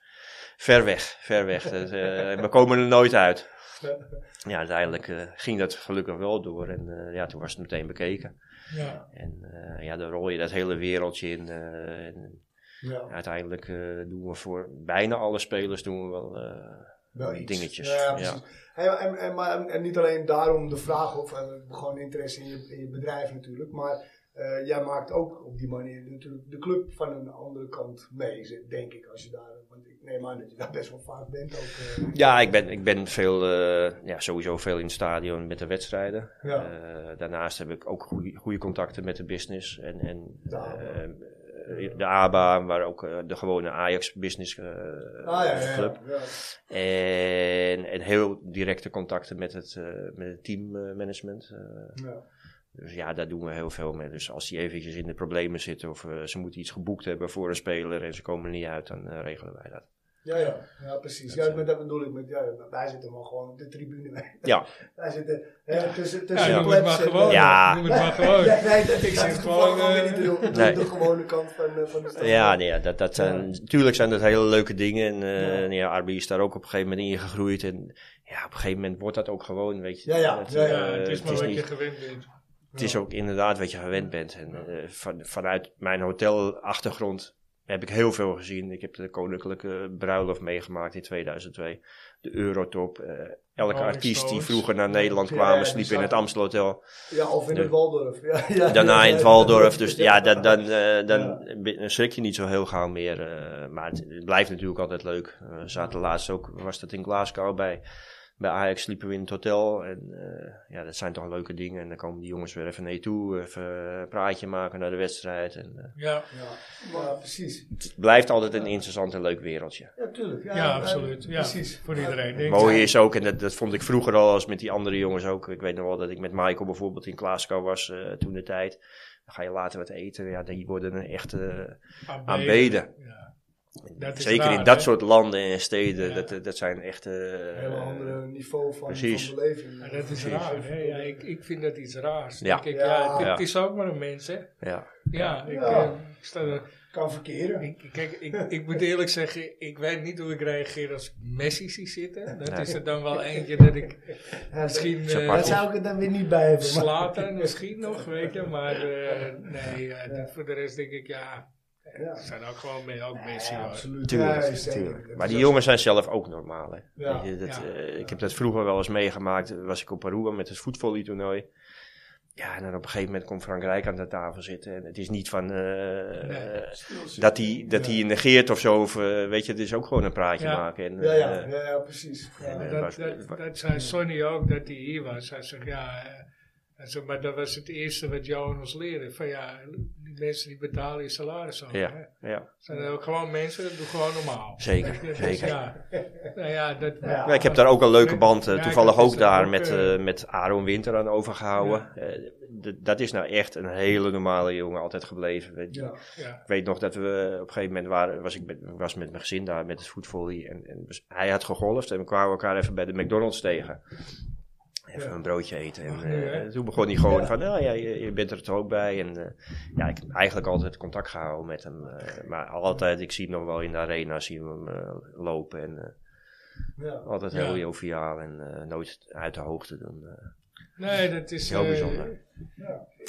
ver weg, ver weg. Dat, eh, we komen er nooit uit. Ja, uiteindelijk eh, ging dat gelukkig wel door en eh, ja, toen was het meteen bekeken. Ja. En eh, ja, dan rol je dat hele wereldje in. eh, en Ja. Uiteindelijk eh, doen we voor bijna alle spelers doen we wel. eh, wel iets. dingetjes, Ja, ja. precies. En, en, en, maar, en niet alleen daarom de vraag of eh, gewoon interesse in je, in je bedrijf natuurlijk, maar eh, jij maakt ook op die manier natuurlijk de club van een andere kant mee, ze- denk ik. Als je daar, want ik neem aan dat je daar best wel vaak bent ook. eh. ja, ik ben, ik ben veel, eh, ja, sowieso veel in het stadion met de wedstrijden. Ja. Eh, daarnaast heb ik ook goede, goede contacten met de business en, en De ABA. eh, eh, de ABA, waar ook eh, de gewone Ajax business eh, ah, ja, ja, club. ja, ja. En, en heel directe contacten met het, eh, met het teammanagement. Eh, Ja. Dus ja, daar doen we heel veel mee. Dus als die eventjes in de problemen zitten of eh, ze moeten iets geboekt hebben voor een speler en ze komen er niet uit, dan eh, regelen wij dat. Ja, ja, ja, precies. Ja, met dat bedoel ik. Met, ja, wij zitten maar gewoon op de tribune. Ja, Wij zitten Ja, hè, tussen, tussen de eh, noem het plebs maar en- gewoon. Ja. Noem het maar gewoon. Ja, nee, dat, ik zit zit gewoon, gewoon eh, niet de, de, de, Nee. de gewone kant van, eh, van de stad. ja, nee, ja, dat, dat zijn, natuurlijk zijn dat hele leuke dingen. En eh, nee, ja. Arby is daar ook op een gegeven moment ingegroeid. En ja, op een gegeven moment wordt dat ook gewoon, weet je. Ja, ja, Dat, ja, ja, Ja, eh, het is maar is wat niet- je gewend bent. Het is ook inderdaad wat je gewend bent. En eh, van, vanuit mijn hotelachtergrond heb ik heel veel gezien. Ik heb de Koninklijke Bruiloft meegemaakt in 2002. De Eurotop. eh, elke Rolling artiest die Stones. vroeger naar Nederland Ja, kwamen ja, sliep die in het zaten- Amstelhotel. Ja, of in Nee. het Waldorf. Ja, ja, Daarna ja, in het ja. Waldorf. Dus ja, dan, dan, eh, dan Ja. ben- schrik je niet zo heel gauw meer. eh, maar het, het blijft natuurlijk altijd leuk. Eh, We zaten laatst ook, was dat in Glasgow bij... Bij Ajax sliepen we in het hotel en eh, ja, dat zijn toch leuke dingen. En dan komen die jongens weer even naar je toe, even een praatje maken naar de wedstrijd. En, eh, Ja, Ja, ja, precies. het blijft altijd een interessant en leuk wereldje. Ja, tuurlijk. Ja, ja, eh, absoluut. Ja, Precies. Voor iedereen. Het Denk mooie ik. is ook, en dat, dat vond ik vroeger al als met die andere jongens ook. Ik weet nog wel dat ik met Michael bijvoorbeeld in Glasgow was eh, toen de tijd. Dan ga je later wat eten. Ja, die worden een echte eh, aanbeden. Ja. Dat is Zeker in waar, dat hè? soort landen en steden. Ja. Dat, dat zijn eh, echte. Een hele andere niveau van, precies. van beleving. Maar dat is Precies. raar. Hè? Ja, ik, ik vind dat iets raars. Ja. Ik, ja, het, Ja. het is ook maar een mens, hè? ja. Ja, ik, Ja. eh, ik sta er Kan verkeren. Ik, kijk, ik, ik moet eerlijk zeggen, ik weet niet hoe ik reageer als ik Messi zie zitten. Dat Nee. is er dan wel eentje dat ik Ja, misschien... Zo eh, pak Daar zou ik het dan weer niet bij hebben. maar- Slater misschien nog, weet je. Maar eh, nee, eh, dat- voor de rest denk ik, ja... Ja. Het zijn ook gewoon mee, ook Messi. Ja, hoor. absoluut. Tuurlijk, Ja, zeker. tuurlijk. Dat Maar is die ook- jongens zijn zelf ook normaal. Hè. Ja, Weet je, dat, ja. eh, ik heb dat vroeger wel eens meegemaakt. eh, Was ik op Aruba met het voetvolleytoernooi. Ja, en dan op een gegeven moment komt Frankrijk aan de tafel zitten. En het is niet van eh, eh, dat hij dat die negeert of zo. Of, eh, weet je, het is ook gewoon een praatje Ja. maken. En, Ja, ja, eh, ja, ja, precies. Ja. Maar eh, dat, was- dat, wa- dat zei Sonny ook, dat hij hier was. Hij zegt, ja... eh, hij zegt, maar dat was het eerste wat jou en ons leren. Van ja, die mensen die betalen je salaris ook. hè. ja, ja, Zijn er ook gewoon mensen, dat doen gewoon normaal. zeker. Dus zeker. ja, nou ja, dat... Ja. Ja, ik heb daar ook een leuke band, eh, Ja, toevallig dat is ook daar, ook, met, eh, eh, met Aaron Winter aan overgehouden. Eh, d- dat is nou echt een hele normale jongen altijd gebleven. Weet je. Ja. Ja, Ik weet nog dat we eh, op een gegeven moment waren, was ik met, was met mijn gezin daar met het voetvolley. En, en dus hij had gegolfd en we kwamen elkaar even bij de McDonald's tegen. Even een broodje eten. En, nu, eh, hè? toen begon hij gewoon van, nou ja, je, je bent er toch ook bij. En eh, ja, ik heb eigenlijk altijd contact gehouden met hem. eh, maar altijd, ik zie hem nog wel in de arena, zie hem eh, lopen. En eh, Ja. altijd Ja. heel joviaal en eh, nooit uit de hoogte doen. eh. nee, dat is... heel eh, bijzonder.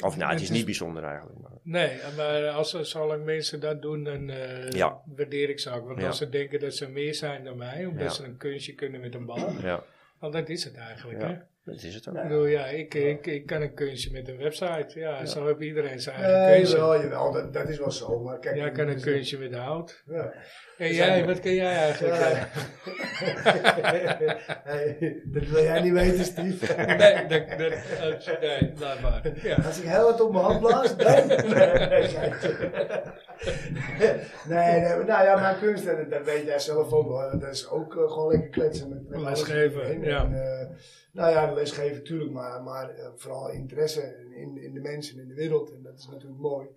Of nou, het is dus Het is- niet bijzonder eigenlijk. Maar, Nee, maar als er zolang mensen dat doen, dan eh, Ja. waardeer ik ze ook. Want Ja. als ze denken dat ze meer zijn dan mij, omdat Ja. ze een kunstje kunnen met een bal. ja, Want dat is het eigenlijk, hè? ja, dat is het ook. Ik bedoel, ja, ik, ik, ik kan een kunstje met een website. Ja, zo heeft iedereen zijn eigen Nee, kunstje. jawel, Eh, jawel, dat, dat is wel zo. Maar kijk, Jij kan een kunstje met hout. Ja. En jij, wat kan jij eigenlijk? Eh? Ja. Hey, dat wil jij niet weten, Steve. Nee, dat, dat, eh, nee, laat maar. Ja. Als ik heel wat op mijn hand blaas, dan... Nee, nee, nee, nee, maar nou ja, maar kunst, en dat weet jij zelf ook wel. Dat is ook eh, gewoon lekker kletsen met... met Lesgeven, alles om je heen. ja. En, eh, nou ja, lesgeven, natuurlijk, maar, maar eh, vooral interesse in, in de mensen, in de wereld. En dat is natuurlijk mooi.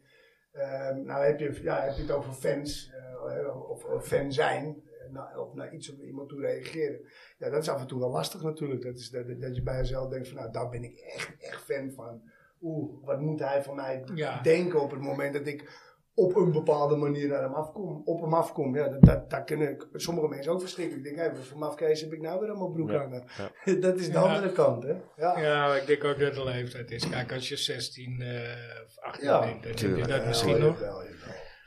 Eh, nou heb je, ja, heb je het over fans, eh, of, of fan zijn, eh, nou, of naar iets of iemand toe reageren. Ja, dat is af en toe wel lastig natuurlijk. Dat, is, dat, dat je bij jezelf denkt van, nou, daar ben ik echt, echt fan van. Oeh, wat moet hij van mij Ja. denken op het moment dat ik op een bepaalde manier naar hem afkom. Op hem afkom, ja, dat, dat, dat kunnen ik- sommige mensen ook verschrikkelijk. Ik denk, hé, wat voor mafkees heb ik nou weer aan mijn broek Ja, hangen? dat is de Ja. andere kant, hè? Ja. Ja, maar ik denk ook dat de leeftijd is. Kijk, als je 16 eh, of 18 Ja, bent, dan heb je tuurlijk. dat Ja, misschien jawel, nog. jawel, jawel.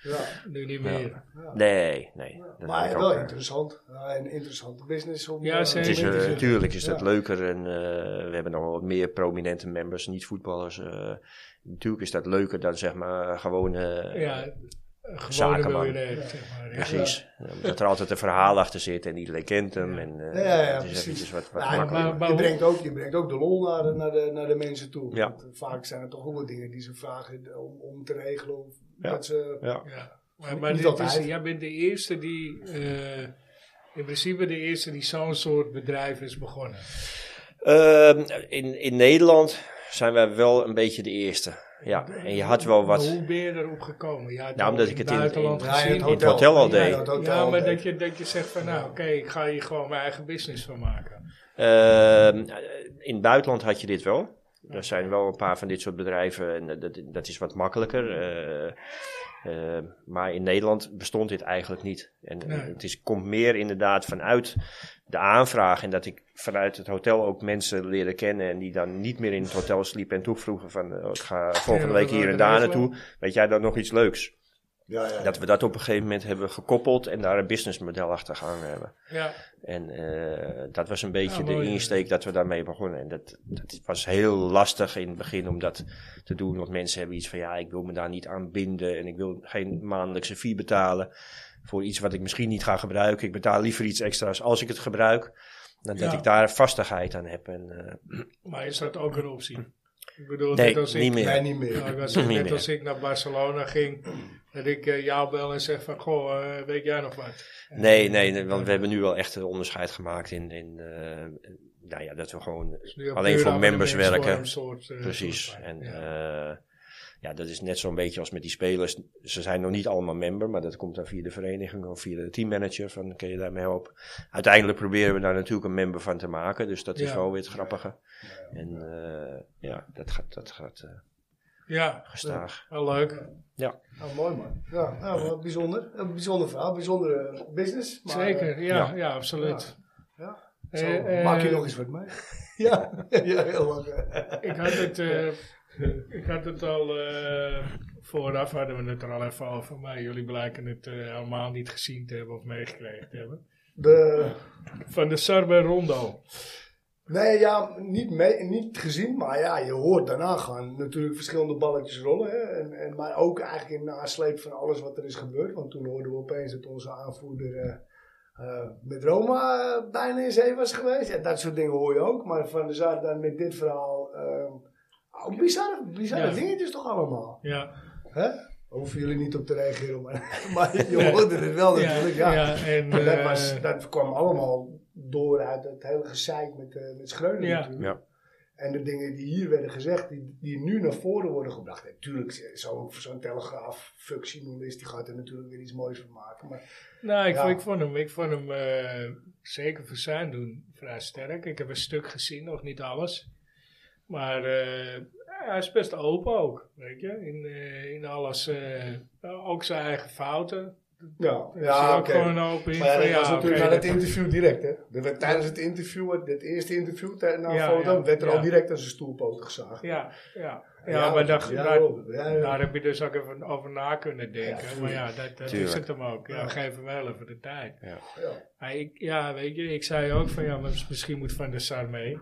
Ja. Nu niet meer. Nee, nee. dat Maar denk ik wel ook, eh. interessant. Ja, een interessante business om... Ja, eh, zeker. Het is, eh, Tuurlijk. natuurlijk is dat Ja. leuker en eh, we hebben nog wel wat meer prominente members, niet voetballers. eh. natuurlijk is dat leuker dan zeg maar gewoon. eh, Ja, gewone Zakenman. miljonair, zeg maar. Ja. Precies. Eh, Dat er altijd een verhaal achter zit en iedereen kent hem. En, Ja, eh, ja, ja, het is precies. Nou, eventjes wat, wat Ja, makkelijker. maar- maar je, hoe- brengt ook, je brengt ook de lol naar de, naar de, naar de mensen toe. Ja. Want eh, vaak zijn er toch ook wel dingen die ze vragen om, om te regelen. Of Ja. Dat ze, Ja. Ja. Maar, maar Niet dit is, altijd. jij bent de eerste die, eh, in principe de eerste die zo'n soort bedrijf is begonnen. Ehm, in, in Nederland zijn wij wel een beetje de eerste. Ja, en je had wel Maar Nou, wat. hoe ben je erop gekomen? Ja, Nou, omdat ik het in- buitenland in- Ja, in gezien het heb. in het hotel. hotel al Ja, deed. in het hotel Ja, maar deed. dat je, dat je zegt van nou, oké, ik ga hier gewoon mijn eigen business van maken. Ehm, in het buitenland had je dit wel. Er zijn wel een paar van dit soort bedrijven en dat, dat is wat makkelijker. eh, eh, maar in Nederland bestond dit eigenlijk niet. En eh, Nee. het is, komt meer inderdaad vanuit de aanvraag. En dat ik vanuit het hotel ook mensen leerde kennen. En die dan niet meer in het hotel sliepen. En toen vroegen van eh, ik ga volgende Ja, week hier en dat daar is wel- naartoe. Weet jij dan nog iets leuks? Ja, ja. Dat we dat op een gegeven moment hebben gekoppeld. En daar een businessmodel achter gehangen hebben. Ja, En eh, dat was een beetje Ja, de mooi, eh. ja. insteek dat we daarmee begonnen. En dat, dat was heel lastig in het begin om dat te doen. Want mensen hebben iets van ja, ik wil me daar niet aan binden. En ik wil geen maandelijkse fee betalen voor iets wat ik misschien niet ga gebruiken. Ik betaal liever iets extra's als ik het gebruik. Dan dat Ja. ik daar vastigheid aan heb. En, eh, maar is dat ook een optie? Ik bedoel, nee, net als ik, niet meer. Nee, niet meer. Nou, ik was Niet net meer. als ik naar Barcelona ging, dat ik eh, jou bel en zeg van, goh, eh, weet jij nog wat? Nee, nee, nee, want we hebben nu wel echt een onderscheid gemaakt in, in eh, nou ja, dat we gewoon Dus nu op Alleen duur voor members abonnementsvorm werken. soort, eh, Precies. soort- En ja. ja. ja, dat is net zo'n beetje als met die spelers. Ze zijn nog niet allemaal member, maar dat komt dan via de vereniging of via de teammanager. Van kun je daarmee helpen? Uiteindelijk proberen we daar natuurlijk een member van te maken. Dus dat is Ja. wel weer het grappige. En eh, ja, dat gaat, dat gaat eh, ja, gestaag. wel leuk. Nou, mooi man. Ja, nou, wel bijzonder. Een bijzonder verhaal, bijzondere business. Maar, eh, Zeker, ja, ja. ja. absoluut. ja. Eh, Zo, eh, maak je nog eens wat mee? ja, ja, heel lang. Ik had het, eh, ik had het al eh, vooraf, hadden we het er al even over, maar jullie blijken het eh, helemaal niet gezien te hebben of meegekregen te hebben. De, Van de Sarbe Rondo. nee, ja, niet, mee, niet gezien, maar ja, je hoort daarna gaan natuurlijk verschillende balletjes rollen. Hè, en, en, maar ook eigenlijk in nasleep van alles wat er is gebeurd. Want toen hoorden we opeens dat onze aanvoerder eh, eh, met Roma eh, bijna in zee was geweest. Ja, dat soort dingen hoor je ook. Maar Van der Zaar dan met dit verhaal... eh, ook bizarre, bizarre Ja. dingetjes toch allemaal. Ja, Hè? Daar hoeven jullie niet op te reageren, maar, maar je hoorde het wel natuurlijk. Ja, en, Maar dat, eh, was, dat kwam allemaal door uit het hele gezeik met, eh met Schreuder Ja. natuurlijk. Ja. En de dingen die hier werden gezegd, die, die nu naar voren worden gebracht. Natuurlijk, zo'n zo'n telegraaf, fuck journalist, die gaat er natuurlijk weer iets moois van maken. Maar Nou, ik, Ja. ik vond hem, ik vond hem eh, zeker voor zijn doen vrij sterk. Ik heb een stuk gezien, nog niet alles. Maar eh, hij is best open ook, weet je. In, eh, in alles, eh, ook zijn eigen fouten. ja, Daar is hij ja ook oké. gewoon open in. Maar van, ja, dat was oké, natuurlijk na dat- het interview direct, hè? Dat werd tijdens het interview, het eerste interview, tij- na Ja, Volendam, ja, werd er ja. al direct aan zijn stoelpoot gezaagd. Ja, ja. ja, maar dat, ja, daar, joh. Ja, joh. daar heb je dus ook even over na kunnen denken. Ja, maar ja, dat, dat is Tuurlijk. het hem ook. Ja, Ja. geef hem wel even de tijd. Ja. Maar ik, ja, weet je, ik zei ook van ja, maar misschien moet Van der Sar mee.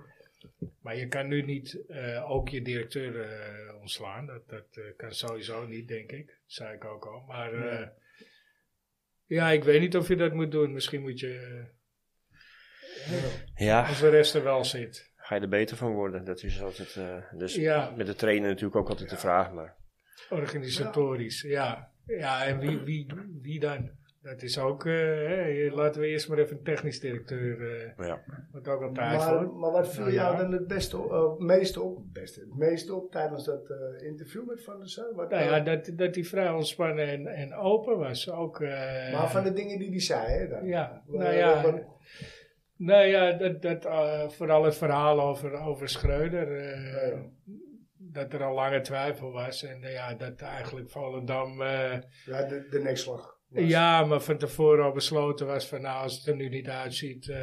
Maar je kan nu niet eh, ook je directeur eh, ontslaan. Dat, dat eh, kan sowieso niet, denk ik. zei ik ook al. Maar eh, ja, ik weet niet of je dat moet doen. Misschien moet je, eh, Ja, als de rest er wel zit. ga je er beter van worden? Dat is altijd. eh, dus Ja. met de trainer natuurlijk ook altijd de vraag. Maar Organisatorisch, ja. Ja, en wie, wie, wie dan? Dat is ook, eh, hè, laten we eerst maar even een technisch directeur, eh Ja. wat ook al tijd Maar, voor. maar wat viel Nou, jou ja. dan het beste op, eh, meeste op, het beste, het meeste op tijdens dat eh, interview met Van der Sar? Wat, Nou ja, eh, dat, dat die vrij ontspannen en, en open was ook. eh, maar van de dingen die hij zei, hè? Dan, Ja, Wa- nou ja. waarvan- Nou ja, dat, dat, eh, vooral het verhaal over, over Schreuder. eh, Ja. Dat er al lange twijfel was. En eh, ja, dat eigenlijk Volendam... eh, ja, de, de nekslag. was. ja, maar van tevoren al besloten was van... Nou, als het er nu niet uitziet... eh,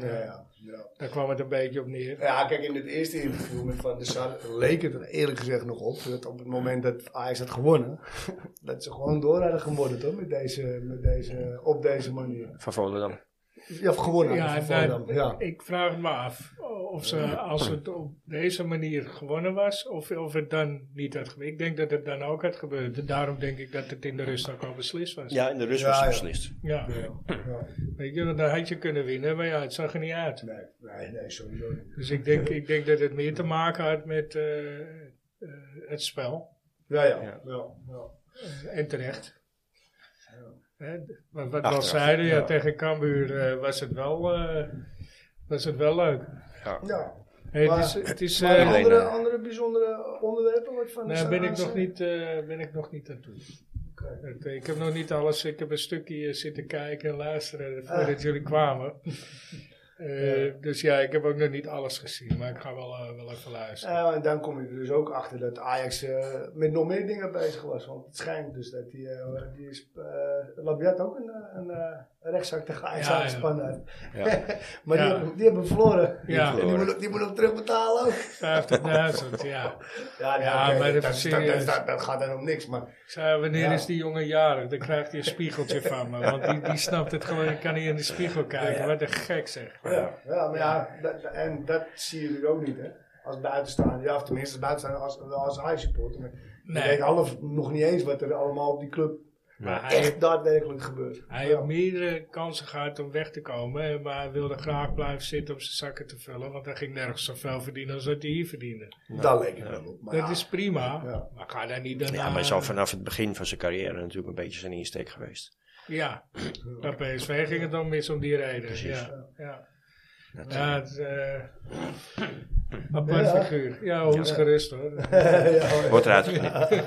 Ja, ja, ja. Daar kwam het een beetje op neer. Ja, kijk, in het eerste interview met Van der Sar leek het er eerlijk gezegd nog op. Dat op het moment dat Ajax had gewonnen, dat ze gewoon door hadden gewonnen, toch? Met deze, met deze, op deze manier. Van Volendam. Ja, of gewonnen Ja, hadden van nou, Volendam, ja. Ik vraag het me af of ze, als het op deze manier gewonnen was, of, of het dan niet had gebeurd. Ik denk dat het dan ook had gebeurd. Daarom denk ik dat het in de rust ook al beslist was. Ja, in de rust Ja, was ja. het beslist. Ja. Ja. Weet je, want dan had je kunnen winnen, maar ja, het zag er niet uit. Nee, nee, nee, sowieso niet. Dus ik denk, ik denk dat het meer te maken had met eh, eh, het spel. Ja, ja. Ja. ja. ja, ja. En terecht. Hè, wat wat we al Achteraf, zeiden, ja, tegen Cambuur eh, was, het wel, eh, was het wel leuk. Hey, Maar- het is, het is, Maar eh, andere, eh, andere bijzondere onderwerpen wat van de Daar Sar Nou, ben ik, aanzet? nog niet, eh, ben ik nog niet aan toe. Oké. Het, eh, Ik heb nog niet alles. Ik heb een stukje eh, zitten kijken en luisteren eh, voordat Ah. jullie kwamen. Eh, Dus ja, ik heb ook nog niet alles gezien, maar ik ga wel, eh, wel even luisteren. Ja, en dan kom je er dus ook achter dat Ajax eh, met nog meer dingen bezig was. Want het schijnt dus dat die, eh, die is, eh, Labiat ook een, eh, een eh, rechtszak tegen Ajax Ja, ja. aangespannen had. Ja. maar Ja. die, hebben- die hebben verloren. Ja. En die moet, die moet hem terugbetalen ook. 50.000, ja. Ja, Ja, oké, maar dat dat, dat, is dat- serieus. dat- dat gaat dan om niks. Maar Ik zei, wanneer Ja. is die jongen jarig? Dan krijgt hij een spiegeltje van me. Want die, die snapt het gewoon, ik kan niet in de spiegel kijken. Wat een gek zeg. ja, ja, maar ja, dat- dat- en dat zie je dus ook niet, hè. Als buitenstaander, ja, of tenminste als buitenstaander, als, wel als Ajax-supporter. maar Nee. Je weet half nog niet eens wat er allemaal op die club Maar hij, echt daadwerkelijk gebeurt. Hij Ja. heeft meerdere kansen gehad om weg te komen, maar hij wilde graag blijven zitten om zijn zakken te vullen, want hij ging nergens zoveel verdienen als wat hij hier verdiende. Dat leek het wel op. Maar dat ja. is prima, Ja. maar ga daar niet daarna... Ja, maar hij is al vanaf het begin van zijn carrière natuurlijk een beetje zijn insteek geweest. Ja, bij PSV ging het dan mis om die reden. Ja, ja. ja het is, eh, apart Ja. figuur. Ja, ons gerust hoor. ja, Wordt eruit geknipt.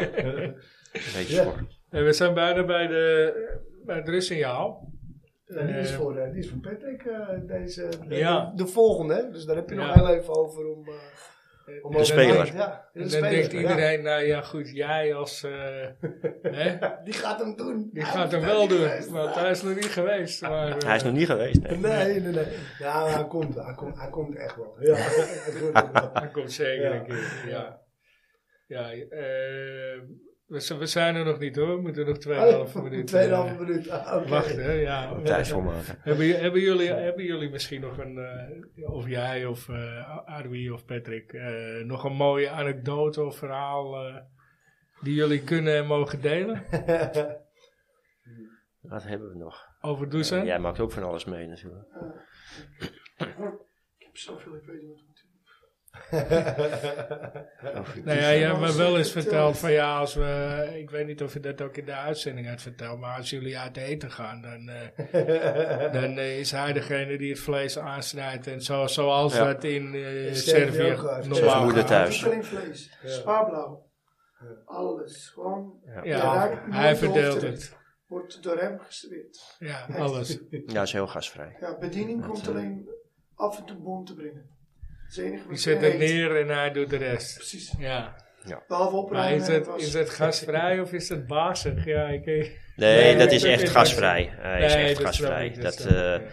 Een beetje Ja. schor. En we zijn bijna bij, de, bij het rustsignaal. die, is voor, eh, die is voor Patrick, eh, deze, de, Ja. de volgende. hè. Dus daar heb je nog Ja. heel even over om... eh, om De over- speler. Ja, En de dan speler, denkt ja. iedereen, nou ja goed, jij als... eh, hè? Die gaat hem doen. Die Hij gaat hem is wel niet doen, geweest. want hij is nog niet geweest. Maar, eh, Hij is nog niet geweest, nee. Nee, nee, nee. Ja, maar hij komt, hij komt, hij komt echt wel. Ja, hij komt echt wel. eh, hij komt zeker Ja. een keer. Ja, ja eh, we, z- we zijn er nog niet hoor. We moeten nog 2,5 minuten Oh, Tweeënhalve eh, minuut. Ah, oké. wachten. hè, Ja. Tijd volmaken. Hebben, j- hebben, jullie, hebben jullie misschien nog een, eh, of jij of eh Arwie of Patrick, eh, nog een mooie anekdote of verhaal eh, die jullie kunnen en mogen delen Wat hebben we nog? over Doezan? Jij maakt ook van alles mee natuurlijk. Ik heb zoveel, ik weet niet wat ik moet doen. Oh, Dus Nou ja, jij hebt me wel eens verteld van ja, als we, ik weet niet of je dat ook in de uitzending had verteld, maar als jullie uit eten gaan, dan, eh, dan eh, is hij degene die het vlees aansnijdt en zo, zoals Ja. dat in eh, In Servië Servië ook, eh, normaal Zoals gaat. moeder thuis. Kringvlees, spaarblauw, alles. Gewoon, Ja, Ja, raakt hij nooit verdeelt hoofd het. wordt door hem gestreerd. Ja, alles. Ja, hij is heel gasvrij. Ja, bediening eh, komt alleen af en toe bon te brengen. Dat is het enige Je wat zet hij het eet. neer en hij doet de rest. Precies. Ja. Behalve Maar opruimen. is het, en was- is het gasvrij of is het bazig? Ja, ik... Nee, dat nee, is dat echt is- gasvrij. Hij is Nee, echt dat snap gasvrij. ik, dat Dat, snap ik, eh, ja.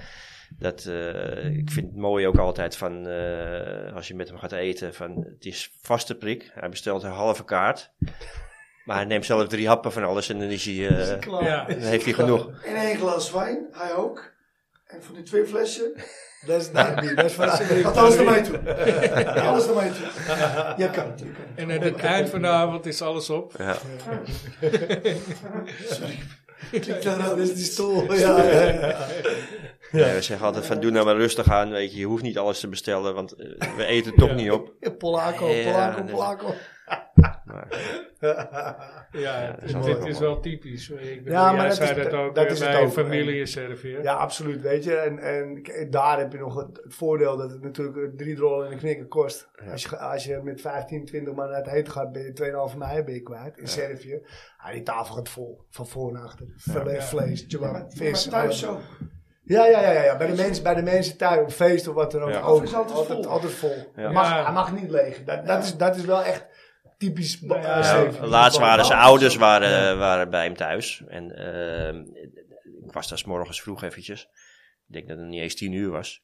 dat, eh, ik vind het mooi ook altijd van eh, als je met hem gaat eten. Van, het is vaste prik. Hij bestelt een halve kaart. Maar hij neemt zelf drie happen van alles en dan is hij, eh, Klaar. Ja. dan heeft hij genoeg. En één glas wijn, hij ook. En van die twee flessen, Dat is dat niet. Dat is van gaat alles naar mij toe. alles naar mij toe. Jij kan het, jij kan het. En aan het eind van de avond is alles op. Ja. Klinkt daar Dat aan. is die stoel. Ja, ja, ja. Nee, we zeggen altijd van doe nou maar rustig aan. Weet je, je hoeft niet alles te bestellen, want eh, we eten toch niet op. Polaco, Ja, Polaco, dus- Polaco. Maar, Ja, dat is dit altijd dit is wel wel typisch. Ik bedoel, ja, maar jij dat zei is, dat ook dat eh, is het bij ook. familie Servië. Ja, absoluut, weet je. En, en k- daar heb je nog het, het voordeel dat het natuurlijk eh, drie rollen en een knikker kost. Als, je, als je met 15, 20 man naar het heet gaat, ben je 2,5 mei ben je kwijt. In Servië. Ah, die tafel gaat vol, van voor naar achter. Filet, vlees, Maar kebab, thuis vis. alles. zo. Ja, ja, ja, ja, ja. Bij, de mensen, bij de mensen thuis, op feest of wat dan ook. Ja. ook. Of is altijd vol. altijd vol. Ja. Mag, Ja. Hij mag niet leeg. Dat, dat, is, dat is wel echt typisch. eh, Ja, Servië. Laatst waren zijn ouders waren, eh, waren bij hem thuis. En ehm, ik was daar 's morgens vroeg eventjes. Ik denk dat het niet eens tien uur was.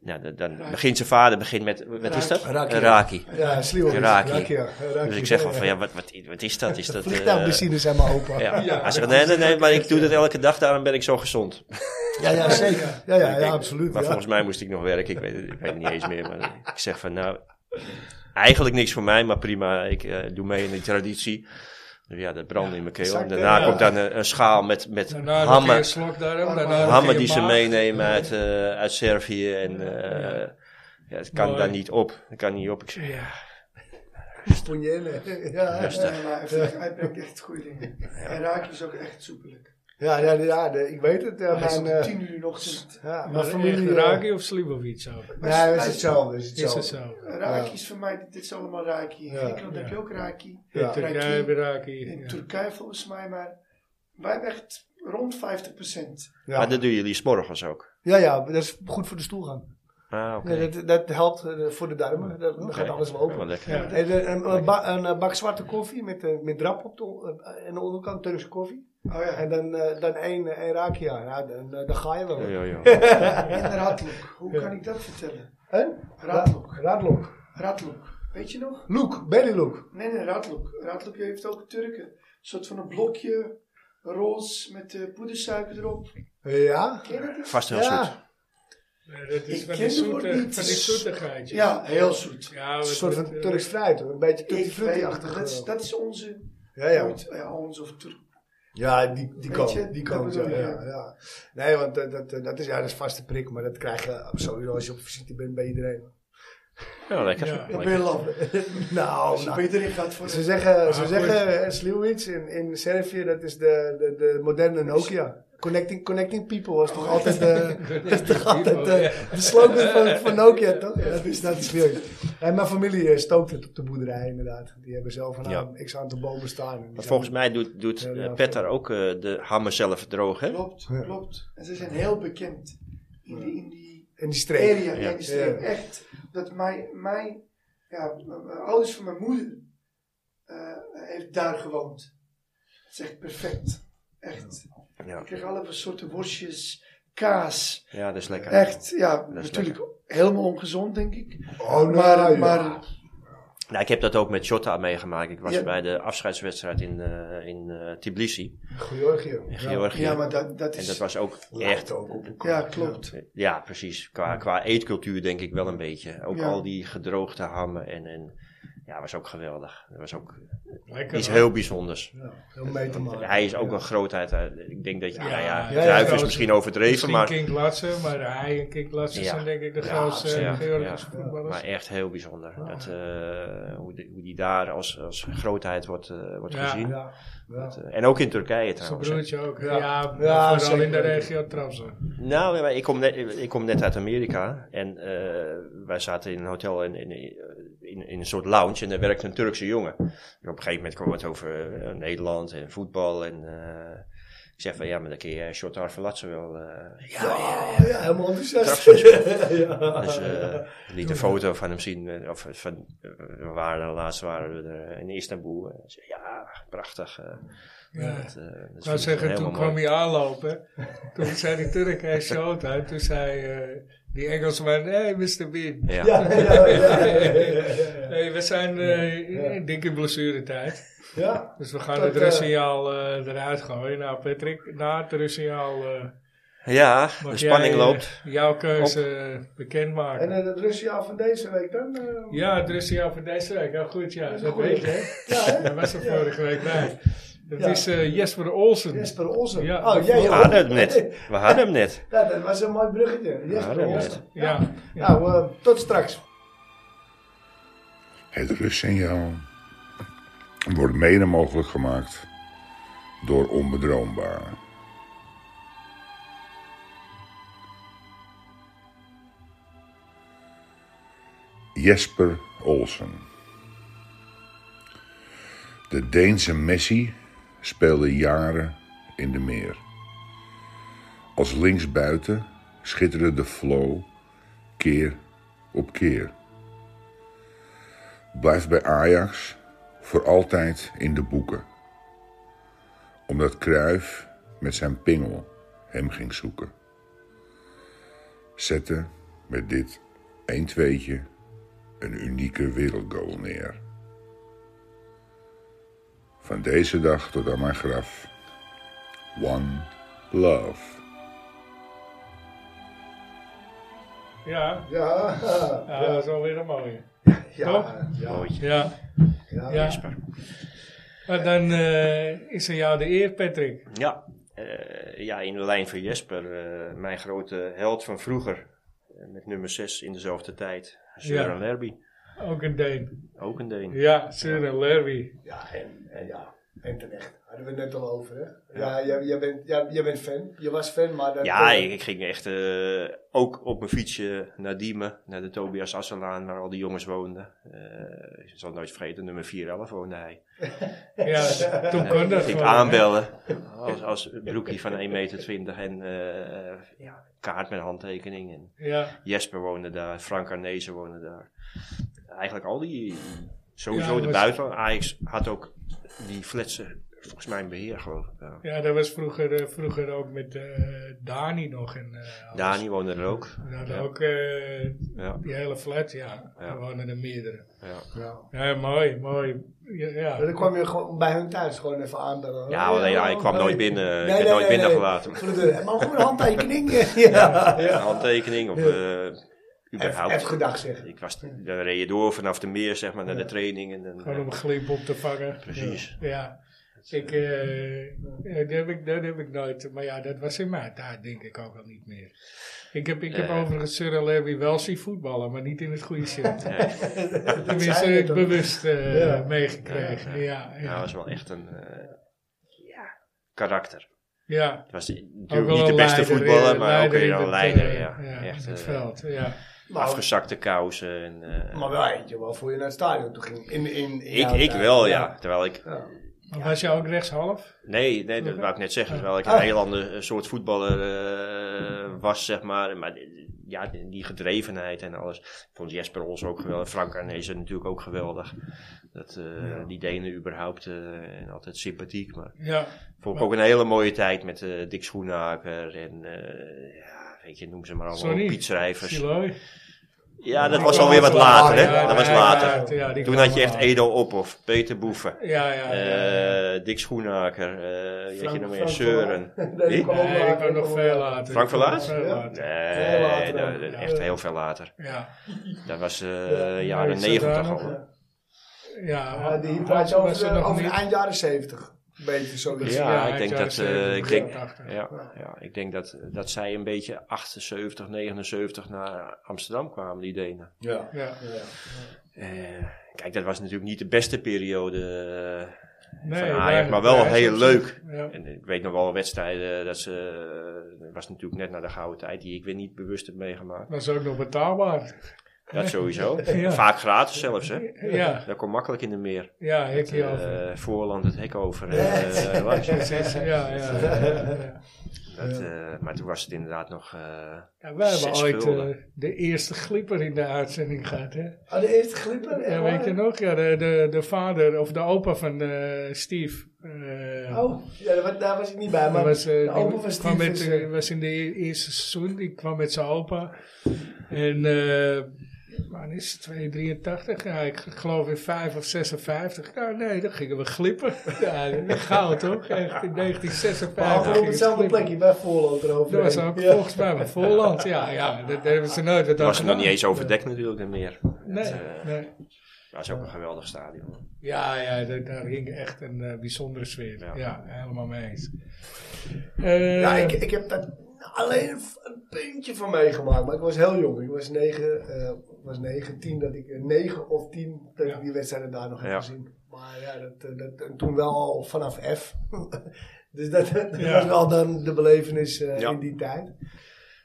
Nou, dan- dan begint zijn vader begint met, wat is dat? Raki. Een Raki. Ja, Sliwon. Raki. ja. Raki, Dus ik zeg ja, wel ja. van, ja, wat, wat, wat is dat? Is dat eh, Vliegtuigbenzine zijn maar open. ja. nou Ja, Hij zegt, nee, nee, nee, maar ik doe dat elke dag, daarom ben ik zo gezond. ja, zeker. Ja, ja, Ik ja, denk, absoluut. Maar ja. volgens mij moest ik nog werken, ik weet, het- ik weet het niet eens meer. Maar ik zeg van, nou, eigenlijk niks voor mij, maar prima, ik eh, doe mee in die traditie. Dus Ja, dat brandde in mijn keel. En exact, daarna ja. komt dan eh, een, een schaal met, met Daarna nog een hammen, keer slok daarom. Hammen. daarna nog hammen een die ze maag. meenemen uit, eh, uit Servië. En eh, ja, het kan Mooi. daar niet op. Het kan niet op. Ik zeg, Ja. Ponjele. Ja, Rustig. Ja, maar hij- hij brengt echt goede dingen. En raak is ook echt soepelijk. ja, ja, ja, de- ik weet het. eh, Hij is mijn, om eh, tien uur in de ochtend. ja, Maar mijn familie familie... Raki of Slibovic ook? eh, nee, is hetzelfde. Is Is het hetzelfde. zo? Raak is voor mij, dit is allemaal raki. In Ja. Griekenland heb Ja. je ook raki. In Ja. Turkije Raki. hebben Raki. In ja. Turkije volgens mij, maar wij hebben echt rond 50%. Ja. Maar "Ah, dat doen jullie s'morgens ook. ja, ja, dat is goed voor de stoelgang. Ah, oké. Ja, dat, dat helpt eh, voor de darmen. Dat, dan gaat Oké. alles wel Wel open. lekker. Ja. En, eh, een, een ba- een, eh, bak zwarte koffie met, eh, met drap op de, on- eh, aan de onderkant, Turkse koffie. Oh ja, en En dan, eh, dan één, eh, één raakje aan. Ja, dan, eh, dan ga je wel. Ja, ja, ja. een radloek. Hoe kan ik dat vertellen? En? Radloek. Radloek. Radloek. Weet je nog? Look, belly look. Nee, nee, radloek. Radloek heeft ook Turken. Een soort van een blokje, roze, met eh, poedersuiker erop. Ja. Ken je dat? niet? Vast heel Ja. zoet. Ja, Dat is Ik van ken die, het woord zoete, niet. van die zoetigheidjes. Ja, heel zoet. Ja, eh, Een wat- soort van wat- Turks fruit, hoor. een beetje tutti Ik weet frutti het, dat, is- achtig dat is onze, Ja, ja. ja. ja, onze of Turk. ja, die, die Weet je, kant. Die dat kant ja, bedoel ik, ja, ja. ja. Nee, want eh, dat, eh, dat, is, ja, dat is vaste prik, maar dat krijg je sowieso als je op visite bent bij iedereen. Ja, lekker. Ja. Lekker. Dat ben je lam. nou, Als je nou. beter in gaat voor Ze de zeggen, ze goed. zeggen eh, Sliwic in, in Servië, dat is de, de, de moderne Nokia. Connecting, connecting people was Oh. toch altijd, de, dat is toch altijd eh, de slogan van, van Nokia, toch? Ja, dat is dat is Sliwic. En mijn familie eh, stookt het op de boerderij, inderdaad. Die hebben zelf een Ja. aan- x aantal bomen staan. En die Maar zijn- volgens mij doet, doet Ja, eh, ja, Oh, Pet daar ook eh, de hammen zelf droog, hè? Klopt, Ja. klopt. En ze zijn heel bekend in die, in die in die streek. area, Ja. in die streek. Ja. Echt, dat mijn, mijn ja, m- m- ouders van mijn moeder eh, heeft daar gewoond. Het is echt perfect. Echt. Ja. Ik kreeg alle soorten worstjes, kaas. ja, dat is lekker. Echt, ja, is natuurlijk helemaal ongezond, denk ik. Oh, nee, Maar, joh. maar Nou, ik heb dat ook met Jota meegemaakt. Ik was Ja. bij de afscheidswedstrijd in, eh, in eh, Tbilisi, Georgië. in Ja. Georgië. ja, maar dat, dat En is. dat was ook Lijkt echt... ook op elkaar. ja, klopt. Ja, precies. Qua, qua eetcultuur denk ik wel een beetje. Ook Ja. al die gedroogde hammen en... en ja, was ook geweldig. Dat was ook Lekker, iets hoor. heel bijzonders. Ja, heel mee te maken. Hij is ook Ja. een grootheid. eh, Ik denk dat je, Ja, nou ja, ja, Cruijff ja. is misschien overdreven, Misschien maar, King Glatsen, maar hij en King Glatsen Ja. zijn denk ik de Ja, grootste eh, ja, Georgische ja. voetballers. maar echt heel bijzonder. Dat, eh, hoe, die, hoe die daar als, als grootheid wordt, eh, wordt Ja. gezien. Ja. Ja. Dat, eh, en ook in Turkije Zijn trouwens. hè. broertje ook. Ja. Ja, Ja, vooral zeker. in de regio Trabzon. Nou, ja, maar ik kom, net, ik kom net uit Amerika en eh, wij zaten in een hotel in, in, in, in een soort lounge en daar werkte een Turkse jongen. En op een gegeven moment kwam het over eh, Nederland en voetbal en eh, ik zeg van ja, maar dan kun je Shotar Verlatsen wel. eh, Ja, ja, helemaal enthousiast. Trapsers. Ja. Dus eh, liet een foto van hem zien. eh, Of van, eh, we waren er laatst waren we er eh, in Istanbul. En zei, ja, prachtig. eh, Ja. dat, eh, dat Ik vind wou ik zeggen, helemaal toen mooi. kwam hij aanlopen. Toen zei die Turk, hij showt uit. Toen zei eh, die Engelsman, hey Mr. Bean. Ja, Ja. ja, ja, ja, ja, ja. Hey, we zijn eh in dikke blessuretijd. Ja, Dus we gaan Dat, het eh, rustsignaal eh, eruit gooien. Nou Patrick, na het rustsignaal eh, Ja, mag de spanning jij, eh, loopt. jouw keuze bekendmaken. en eh, het Russiaal van deze week dan? eh, Ja, het rustsignaal van deze week. Heel goed, ja. is een Dat goeie. weet je. ja, hè? Dat was er vorige week bij. Dat Ja. is eh, Jesper Olsen. Jesper Olsen. Ja. oh, jij We ook. hadden hem Ah, net. We hadden hem net. Ja, dat was een mooi bruggetje. Jesper dat is Olsen. Ja. Ja. Nou, eh, tot straks. Het rustsignaal. wordt mede mogelijk gemaakt door onbedroombaar. Jesper Olsen. De Deense Messi speelde jaren in de meer. Als linksbuiten schitterde de flow keer op keer. Blijft bij Ajax voor altijd in de boeken. Omdat Kruif met zijn pingel hem ging zoeken. Zette met dit 1-2'tje een unieke wereldgoal neer. Van deze dag tot aan mijn graf. One love. Ja, Ja, ja, dat is alweer een mooie. ja, ja. Ja, ja. ja. Maar dan eh, is er jou de eer, Patrick. Ja, eh, ja in de lijn van Jesper, eh, mijn grote held van vroeger. eh, met nummer 6 in dezelfde tijd. Søren Ja. Lerby, Ook een Deen. ook een Deen. Ja, Søren Lerby. Ja, en, en ja, en terecht. Hadden we het net al over, hè? Ja, jij, jij, bent, jij, jij bent fan. Je was fan, maar... Dat, Ja, eh, ik, ik ging echt eh, ook op mijn fietsje naar Diemen, naar de Tobias Asselaan, waar al die jongens woonden. Eh, ik zal het nooit vergeten, nummer 411 woonde hij. Eh, Ja, toen kon ik dat ging gewoon, aanbellen als, als broekie van 1,20 meter en eh, ja, kaart met handtekening. En hè? Ja, Jesper woonde daar, Frank Arnezen woonde daar. Eigenlijk al die, sowieso Ja, de was- buiten. Ajax had ook die fletsen, volgens mij in beheer geloof ik. Ja. ja, dat was vroeger, eh, vroeger ook met eh, Dani nog. En, eh, alles. Dani woonde er ook. We hadden Ja. ook eh, Ja, die hele flat, ja. Ja. Er wonen er meerdere. ja. ja. Ja, mooi, mooi. Ja, ja. Maar dan kwam je gewoon bij hun thuis gewoon even aanbellen. Ja, alleen ja, ik kwam hoi. nooit binnen. Ik Nee, heb nee, nooit nee, binnen nee. gelaten. Voor de deur. Maar een goede handtekening. ja. Een ja. handtekening of eh überhaupt. Even gedag zeggen. Ik was, dan reed je door vanaf de meer zeg maar, naar de training. En, dan- eh, Gewoon om een glimp op te vangen. precies. Ja. Ik, eh, ja, dat, heb ik, dat heb ik nooit. Maar ja, dat was in mijn tijd denk ik ook al niet meer. Ik heb, ik heb Eh. overigens Cyril Lerby wel zien voetballen, maar niet in het goede shirt. Tenminste, zei je ik toch? bewust eh, Ja. meegekregen. Ja, Ja, dat ja. was wel echt een eh, ja, karakter. ja. Het was Ook natuurlijk wel niet de een beste leider, voetballer, eh, maar ook weer in een het, leider. eh, ja. echt in het eh, veld, ja. Maar, afgezakte kousen. En, eh, maar wel eentje waarvoor je naar het stadion toe ging. In, in, in ik, jouw ik tijd. wel, ja. Terwijl ik, Ja. Maar was je ook rechtshalf? nee, nee, dat wou ik net zeggen. Terwijl ik Ah. een heel ander soort voetballer eh, was, zeg maar. Maar ja, die gedrevenheid en alles. Ik vond Jesper Ols ook geweldig. Frank Arnezen natuurlijk ook geweldig. Dat, eh, Die Denen überhaupt. eh, en altijd sympathiek. Maar Ja. vond ik ook een hele mooie tijd met eh, Dick Schoenhaker. En eh, ja, weet je, noem ze maar allemaal. Sorry. Piet Schrijvers. Siloy. Ja, dat was alweer wat later, hè? Ja, dat was ja, later. ja, ja, die Toen kwam had je echt wel. Edo Ophoff, Peter Boeven, Ja, ja. ja. eh, Dick Schoenhaker, eh weet je nog meer, Seuren. Nee, Wie? die kwam ook Nee, ik later, kwam nog kwam veel later. later. Frank Ik kwam Verlaat? nog veel Ja. later. Nee, later dat- ook, dat- ja. echt heel veel later. Ja. Dat was eh Ja, jaren iets negentig zodanig. al. Ja, Ja, Eh, die was- praat je over, was er de- nog over niet. eind jaren zeventig. Een beetje zoiets. Ja, Ja, ik denk eind dat, jaren eh, 70, ik denk, begin 80. ja, ja, ik denk dat, dat zij een beetje 78, 79 naar Amsterdam kwamen, die Denen. Ja. Ja. Eh, kijk, dat was natuurlijk niet de beste periode eh, Nee, van Ajax, weinig maar wel prijs heel op leuk. zich. Ja. En ik weet nog wel wedstrijden, dat ze, eh, dat was natuurlijk net na de gouden tijd, die ik weer niet bewust heb meegemaakt. Dat is ook nog betaalbaar. Dat sowieso. Ja. Vaak gratis zelfs, hè. Ja, Dat kon makkelijk in de meer. ja, ik Eh, over. voorland het hek over. en, eh, langs. Precies, ja, ja. ja. Dat, eh, maar toen was het inderdaad nog... eh, Ja, wij hebben Zes ooit eh, gulden. de eerste glipper in de uitzending gehad, hè? Ah, de eerste glipper? echt Ja, weet je waar? nog? Ja, de, de, de vader of de opa van eh, Steve. eh, Oh, ja, daar, was- daar was ik niet bij. Hij Maar was, eh, de die open van kwam Steve met, is, eh, eh, was in de e- eerste seizoen, die kwam met zijn opa. En, eh waar is het, 283? Ja, ik geloof in 5 of 56. Nou, nee, dan gingen we glippen. Ja, goud toch? Echt, in 1956. maar allemaal op gingen we hetzelfde glippen. plekje bij Voorland erover. Dat was ook volgens mij bij Voorland. Ja, ja, dat hebben ze nooit. wat was aan het nog gedaan. niet eens overdekt natuurlijk in de meer. Nee, Dat eh, nee. was ook een geweldig stadion. Ja, ja daar, daar hing echt een eh, bijzondere sfeer. Ja. Ja. helemaal mee eens. Eh, Ja, ik, ik heb dat alleen een, een puntje van meegemaakt. Maar ik was heel jong. Ik was 9, eh was 9 10 dat ik 9 of 10 dat ik die wedstrijden daar nog heb Ja. gezien. Maar ja, dat, eh, dat, en toen wel al vanaf F. dus dat, dat was wel dan de belevenis eh, Ja. in die tijd.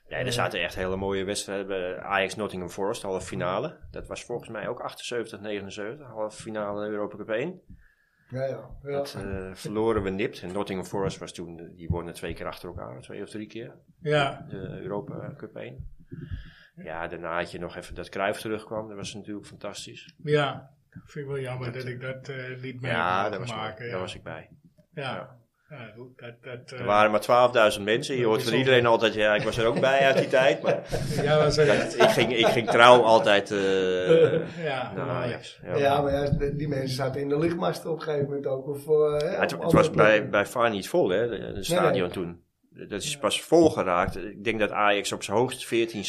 Nee, er zaten echt hele mooie wedstrijden. bij. Ajax Nottingham Forest, halve finale. Dat was volgens mij ook 78, 79. Halve finale Europa Cup 1. Ja, ja. ja. Dat eh, verloren we nipt. En Nottingham Forest was toen, die wonnen twee keer achter elkaar. Twee of drie keer. Ja, De Europa Cup 1. Ja, daarna had je nog even dat Cruijff terugkwam. Dat was natuurlijk fantastisch. ja. Vind ik wel jammer dat ik dat eh, niet mee Ja, heb daar was, maken. daar ja. was ik bij. ja. Ja, goed, dat, dat, eh, Er waren maar 12.000 mensen. Je hoort van iedereen altijd, ja, ik was er ook bij uit die tijd. Maar ja, was echt. ik ging, ik ging trouw altijd eh Ja, naar Ajax. Ja. Ja, maar ja, de- die mensen zaten in de lichtmast op een gegeven moment ook. Of, eh, hè, Ja, het, op het andere was bij, plekken. bij Far niet vol, hè, de- de stadion toen. Dat is pas vol geraakt. Ik denk dat Ajax op zijn hoogst 14,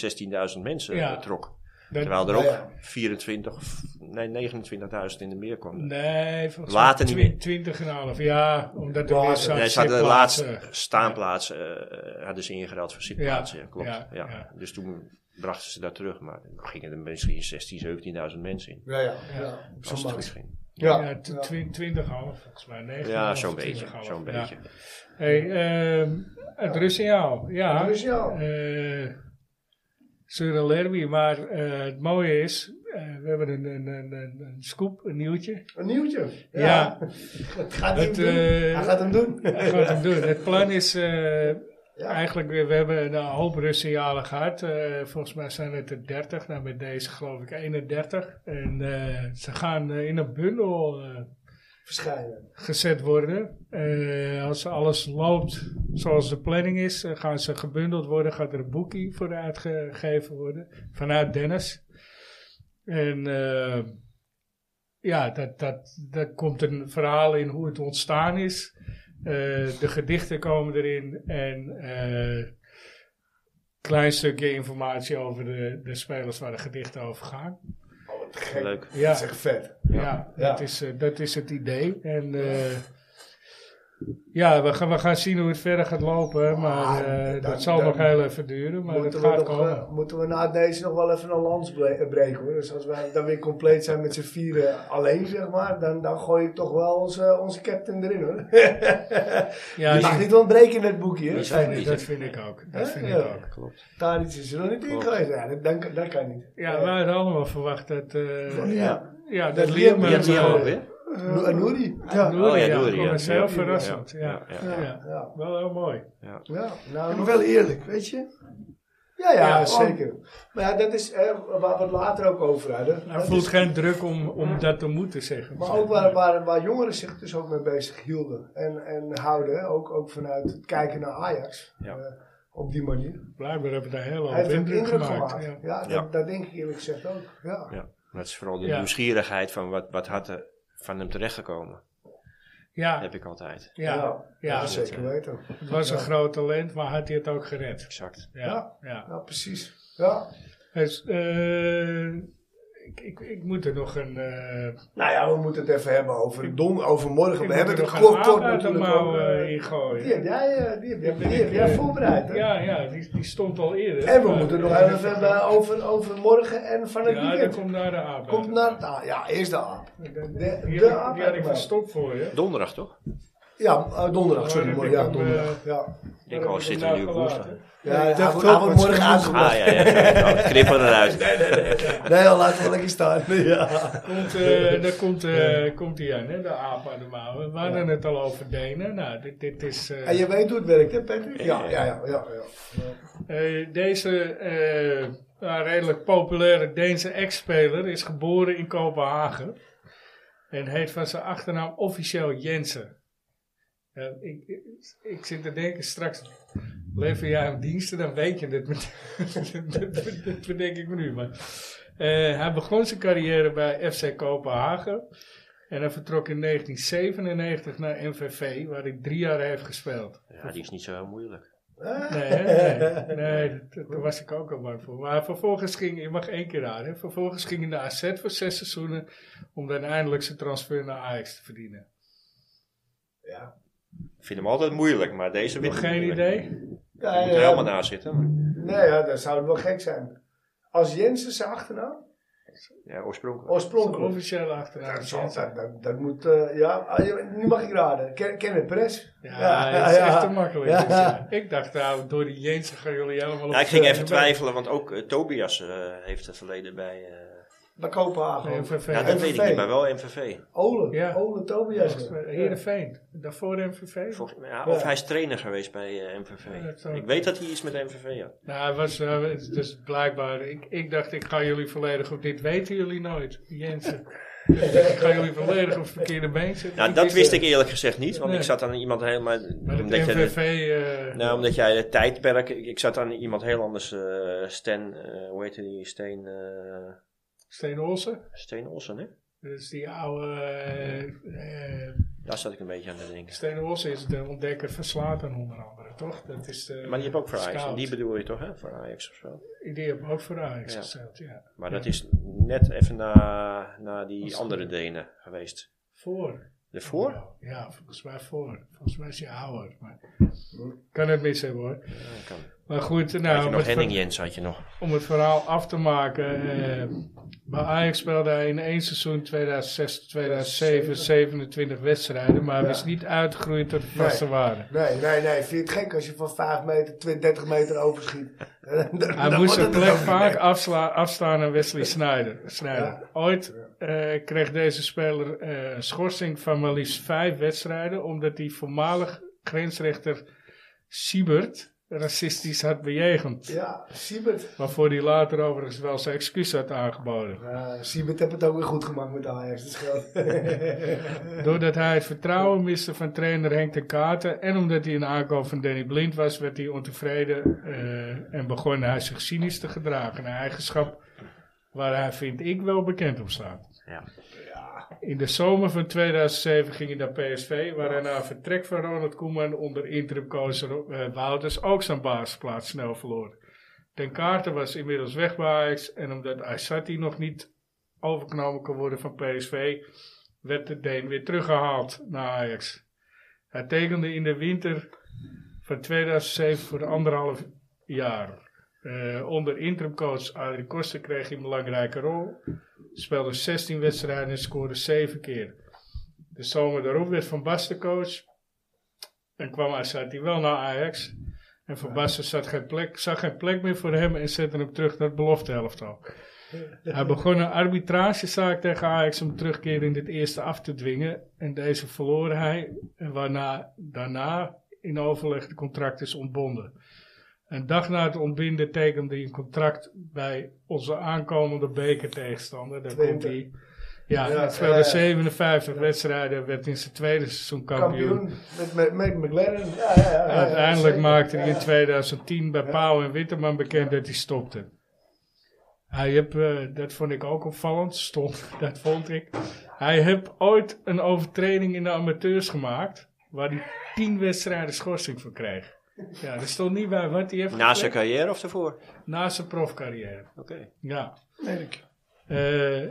16.000 mensen Ja. eh, trok. Dat- Terwijl er ook Ja. 24, of- nee, 29.000 in de meer kwam. Nee, volgens Later mij niet twi- meer. 20 en een half. Ja, omdat er Later. weer Nee, zo'n ze hadden de zitplaatsen. laatste staanplaats eh, hadden ze ingeruild voor zitplaatsen. Ja, Ja, klopt. ja, Ja, ja. Dus toen brachten ze dat terug. Maar er gingen er misschien 16, 17.000 mensen in. Ja, ja, ja, op Als zo'n het max. goed ging. Ja, Ja, tw- twi- 20 en een half volgens mij. 9 Ja, zo'n beetje. Zo'n beetje. Hey, ehm, het rustsignaal, ja. Het rustsignaal. Eh, Cyril Herby, maar eh, het mooie is, eh, we hebben een, een, een, een- een scoop, een nieuwtje. Een nieuwtje. Ja, Het gaat Het, hem doen. eh, Hij gaat hem doen. dat gaat hem doen. Het plan is eh, Ja. eigenlijk, we we hebben een eh, hoop rustsignalen gehad. Eh, volgens mij zijn het er 30, nou met deze geloof ik 31. En eh, ze gaan eh, in een bundel... eh, Verschijnen. gezet worden. Eh, als alles loopt zoals de planning is, eh, gaan ze gebundeld worden. Gaat er een boekie voor uitgegeven worden vanuit Dennis. En eh, ja, dat, dat, daar komt een verhaal in hoe het ontstaan is. Eh, de gedichten komen erin en eh klein stukje informatie over de, de spelers waar de gedichten over gaan. Oh, wat gek. Leuk. Ja. Dat is echt vet. Ja, Ja. Dat, is, eh, dat is het idee. En eh, ja, we gaan, we gaan zien hoe het verder gaat lopen. Maar eh, Ah, dan- dat zal dan nog heel even duren, maar het moeten, we gaat nog, komen. eh, moeten we na deze nog wel even een lans bre- eh, breken hoor. Dus als wij dan weer compleet zijn met z'n vieren alleen zeg maar, dan, dan gooi ik toch wel onze, onze captain erin hoor. ja, Je dat- mag niet ontbreken in het boekje. dat, hè? vind ik, dat vind ik ook. Dat Hè? vind Ja. ik ook. Daar iets is er nog niet in geweest. Ja, dat, dat, dat kan niet. Eh, Ja, Nee. wij hadden allemaal verwacht dat... eh Ja. ja, dat Dat Liam... Liam- eh, Ja, die ook weer. No- eh, Nouri. Ja. Nouri, Oh ja, ja, Nouri, dat ja. was Ja. heel verrassend. Ja. Ja, ja, ja. Ja. Ja. Wel heel mooi. Ja, nou, Maar wel eerlijk, weet je? Ja, ja, Ja, zeker. Maar ja, dat is eh, waar we het later ook over hadden. Hij Dat voelt is- geen druk om, om dat te moeten zeggen. maar ook waar, waar, waar jongeren zich dus ook mee bezig hielden en, en houden. hè. Ook, ook vanuit het kijken naar Ajax. Ja. eh, op die manier. Blijkbaar hebben we daar heel Hij hoop heeft een indruk indruk gemaakt. gemaakt. Ja. Ja, dat, Ja. dat denk ik eerlijk gezegd ook. Ja. Ja. Dat is vooral de Ja. nieuwsgierigheid van wat, wat had er van hem terechtgekomen. Ja, Heb ik altijd. ja, ja, ja, zeker weten. Het was een groot talent, maar had hij het ook gered? Exact. Ja, ja. Ja, precies. Ja. Dus, eh, ik, ik, ik moet er nog een. eh Nou ja, we moeten het even hebben over, don, over morgen. ik We moet hebben er het nog een kort, aap kort uit de natuurlijk ook, mouw eh, eh, in gooien. Die heb jij, eh, die heb, die heb, ben die ik, heb jij eh, voorbereid. hè? Ja, ja die, die stond al eerder. En we Maar- moeten nog even hebben over, over morgen en van het Ja, dat weekend. komt naar de aap. Komt naar het aap. Ja, eerst de aap. De, de, Die, de heb ik- aap. die had ik maar. verstopt voor je. Donderdag toch? Ja, eh, donderdag. Oh, Sorry, dan morgen. heb Ja, ik hem, eh, donderdag. Ja. Ik denk, oh, zitten we nou nu op woensdag? Ja, ja, ik dacht hij wordt- ook, hij wordt want morgen het is aangebracht. Ah ja, ja. ja. Knippen eruit. Nee, al laten we lekker staan. Ja. Komt, eh, daar komt, eh, komt die aan, hè, de aap aan de mouw. We hadden het al over Denen. Nou, dit, dit is. eh, En je weet hoe het werkt, hè Patrick? Ja, ja, ja. ja, ja. Eh, deze eh, nou, redelijk populaire Deense ex-speler is geboren in Kopenhagen. En heet van zijn achternaam officieel Jensen. Eh, ik, ik, ik zit te denken, straks lever jij hem diensten, dan weet je het. meteen. dat, dat- dat bedenk ik me nu. Maar. Eh, hij begon zijn carrière bij FC Kopenhagen. En hij vertrok in 1997 naar MVV, waar hij drie jaar heeft gespeeld. Ja, die is niet zo heel moeilijk. Nee, hè? nee, nee dat- dat- daar was ik ook al bang voor. Maar vervolgens ging, je mag één keer raden, hè. vervolgens ging hij naar AZ voor zes seizoenen om dan eindelijk zijn transfer naar Ajax te verdienen. Ik vind hem altijd moeilijk, maar deze Nog wint geen moeilijk. idee? Ja, Je moet er ja. helemaal naast zitten. Maar, Nee, ja, dat zou het wel gek zijn. Als Jensen zijn achternaam, ja, oorspronkelijk. oorspronkelijk. Officieel achteraan. Dat, is altijd- dat, dat moet, eh, ja, ah, nu mag ik raden. Ken, Ken het pres? Ja, het is ja. echt te makkelijk. Ja. Dus, eh, Ik dacht, nou, door die Jensen gaan jullie helemaal op Nou, ik ging de- even twijfelen, want ook eh, Tobias eh, heeft het verleden bij... eh, Bij Kopenhagen. Nee, MVV. ja, dat weet ik MVV. niet, maar wel MVV. Ole, Ja. Ole Tobias. Heerenveen. Daarvoor MVV. Volgens mij- ja, of Ja. hij is trainer geweest bij eh, MVV. dat zou- ik weet dat hij iets met MVV had. Nou, het was eh, het is dus blijkbaar. Ik, ik dacht, ik ga jullie volledig op. Dit weten jullie nooit, Jensen. Dus ik dacht, ik ga jullie volledig op het verkeerde been zetten. Nou, dat wist ik eerlijk gezegd niet, want eh, Nee. ik zat aan iemand helemaal... Maar het jij de- MVV. eh, Nou, omdat jij het tijdperk... Ik, ik zat aan iemand heel anders. eh Stan, eh, hoe heette die? Steen, eh Steen Olsen. Steen Olsen, hè? Dat is die oude. eh, eh, Daar zat ik een beetje aan te denken. Steen Olsen is de ontdekker van Slater, onder andere, toch? Dat is de, Maar die heb ook voor Ajax. scout. en Die bedoel je toch, hè? Voor Ajax of zo. Die heb ook voor Ajax Ja. gespeeld, ja. Maar Ja. dat is net even na, na die is andere Denen geweest. Voor. Daarvoor? Nou, Ja, volgens mij voor. Volgens mij is hij ouder. Maar kan het mis hebben hoor. Ja, kan. Maar goed, had nou, je om nog het, Henning ver- Jens had je nog. om het verhaal af te maken. eh, bij Ajax speelde hij in één seizoen 2006, 2007, 27 wedstrijden. Maar hij is niet uitgegroeid tot de vaste waarde. Nee, nee, nee. Vind je het gek als je van 5 meter, 20, 30 meter overschiet? Dan- dan- Hij dan moest zijn wordt het plek er ook niet vaak meer. afsla- afstaan aan Wesley Sneijder. Sneijder. Ooit eh, kreeg deze speler eh, een schorsing van maar liefst vijf wedstrijden. omdat hij voormalig grensrechter Siebert racistisch had bejegend. Ja, Siebert. Waarvoor hij later overigens wel zijn excuus had aangeboden. Ja, Eh, Siebert heeft het ook weer goed gemaakt met Ajax. Dat scheelt. Doordat hij het vertrouwen miste van trainer Henk de Katen en omdat hij een aankoop van Danny Blind was, werd hij ontevreden eh, en begon hij zich cynisch te gedragen. Een eigenschap waar hij, vind ik, wel bekend om staat. Ja. In de zomer van 2007 ging hij naar PSV, waar hij na vertrek van Ronald Koeman onder interimcoach Ro- eh, Wouters ook zijn basisplaats snel verloor. Ten Kaarten was inmiddels weg bij Ajax en omdat Aysati nog niet overgenomen kon worden van PSV, werd de Deen weer teruggehaald naar Ajax. Hij tekende in de winter van 2007 voor anderhalf jaar. Eh, onder interimcoach Adrie Koster kreeg hij een belangrijke rol. Speelde 16 wedstrijden en scoorde 7 keer. De zomer daarop werd Van Basten coach. En kwam Assati wel naar Ajax. En Van Basten zat geen plek, zag geen plek meer voor hem en zette hem terug naar het beloftehelftal. Hij begon een arbitragezaak tegen Ajax om terugkeer in dit eerste af te dwingen. En deze verloor hij, en waarna daarna in overleg de contract is ontbonden. Een dag na het ontbinden tekende hij een contract bij onze aankomende bekertegenstander. Daar komt Twente. hij. Ja, Ja, hij speelde ja. 57 wedstrijden, werd in zijn tweede seizoen kampioen. Kampioen. Met, met, met McLaren. Ja, ja, ja, ja, ja, Uiteindelijk zeker. maakte hij Ja, in 2010 bij Pauw en Witteman bekend dat hij stopte. Hij heb, eh, dat vond ik ook opvallend, stond, dat vond ik. Hij heeft ooit een overtreding in de amateurs gemaakt, waar hij 10 wedstrijden schorsing voor kreeg. Ja, dat stond niet bij wat hij heeft Na zijn gekleed. carrière of daarvoor? Oké. na zijn profcarrière. Ja. Eh,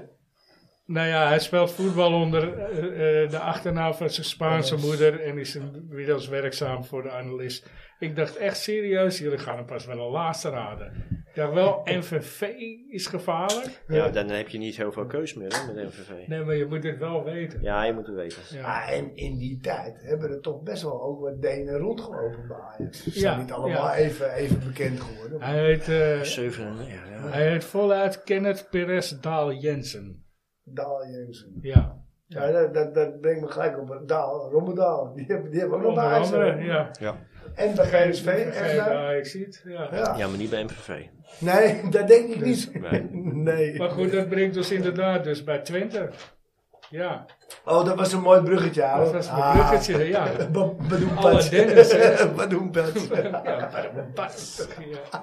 nou ja, hij speelt voetbal onder eh, eh, de achternaam van zijn Spaanse moeder en is inmiddels werkzaam voor de analist. Ik dacht echt serieus, jullie gaan hem pas wel een laatste raden. Ik dacht wel, MVV is gevaarlijk. Ja, dan heb je niet heel veel keus meer hè, met MVV. Nee, maar je moet het wel weten. Ja, je moet het weten. Ja. Ah, en in die tijd hebben er toch best wel ook wat Denen rondgelopen bij Ajax. Ze Ja, zijn niet allemaal ja. even, even bekend geworden. Hij heet, eh, 97, ja. hij heet voluit Kenneth Perez Daal Jensen. Daal Jensen. Ja, Ja, dat, dat, dat brengt me gelijk op. Daal, Rommedaal. Die hebben, die hebben ook nog onder bij Ajax. andere. Ja. En bij GSV. Vergeet, en, eh, ja, ik zie het. Ja. ja. Ja, maar niet bij MVV. Nee, dat denk ik niet. Nee. Nee. Maar goed, dat brengt ons inderdaad dus bij Twente. Ja, Oh, dat was een mooi bruggetje, ouwe. dat was mijn Ah. bruggetje, ja. Ba- Badoem Alle Pat. Dennis, hè? Badoem Pat. Ja, fantastisch. Ja.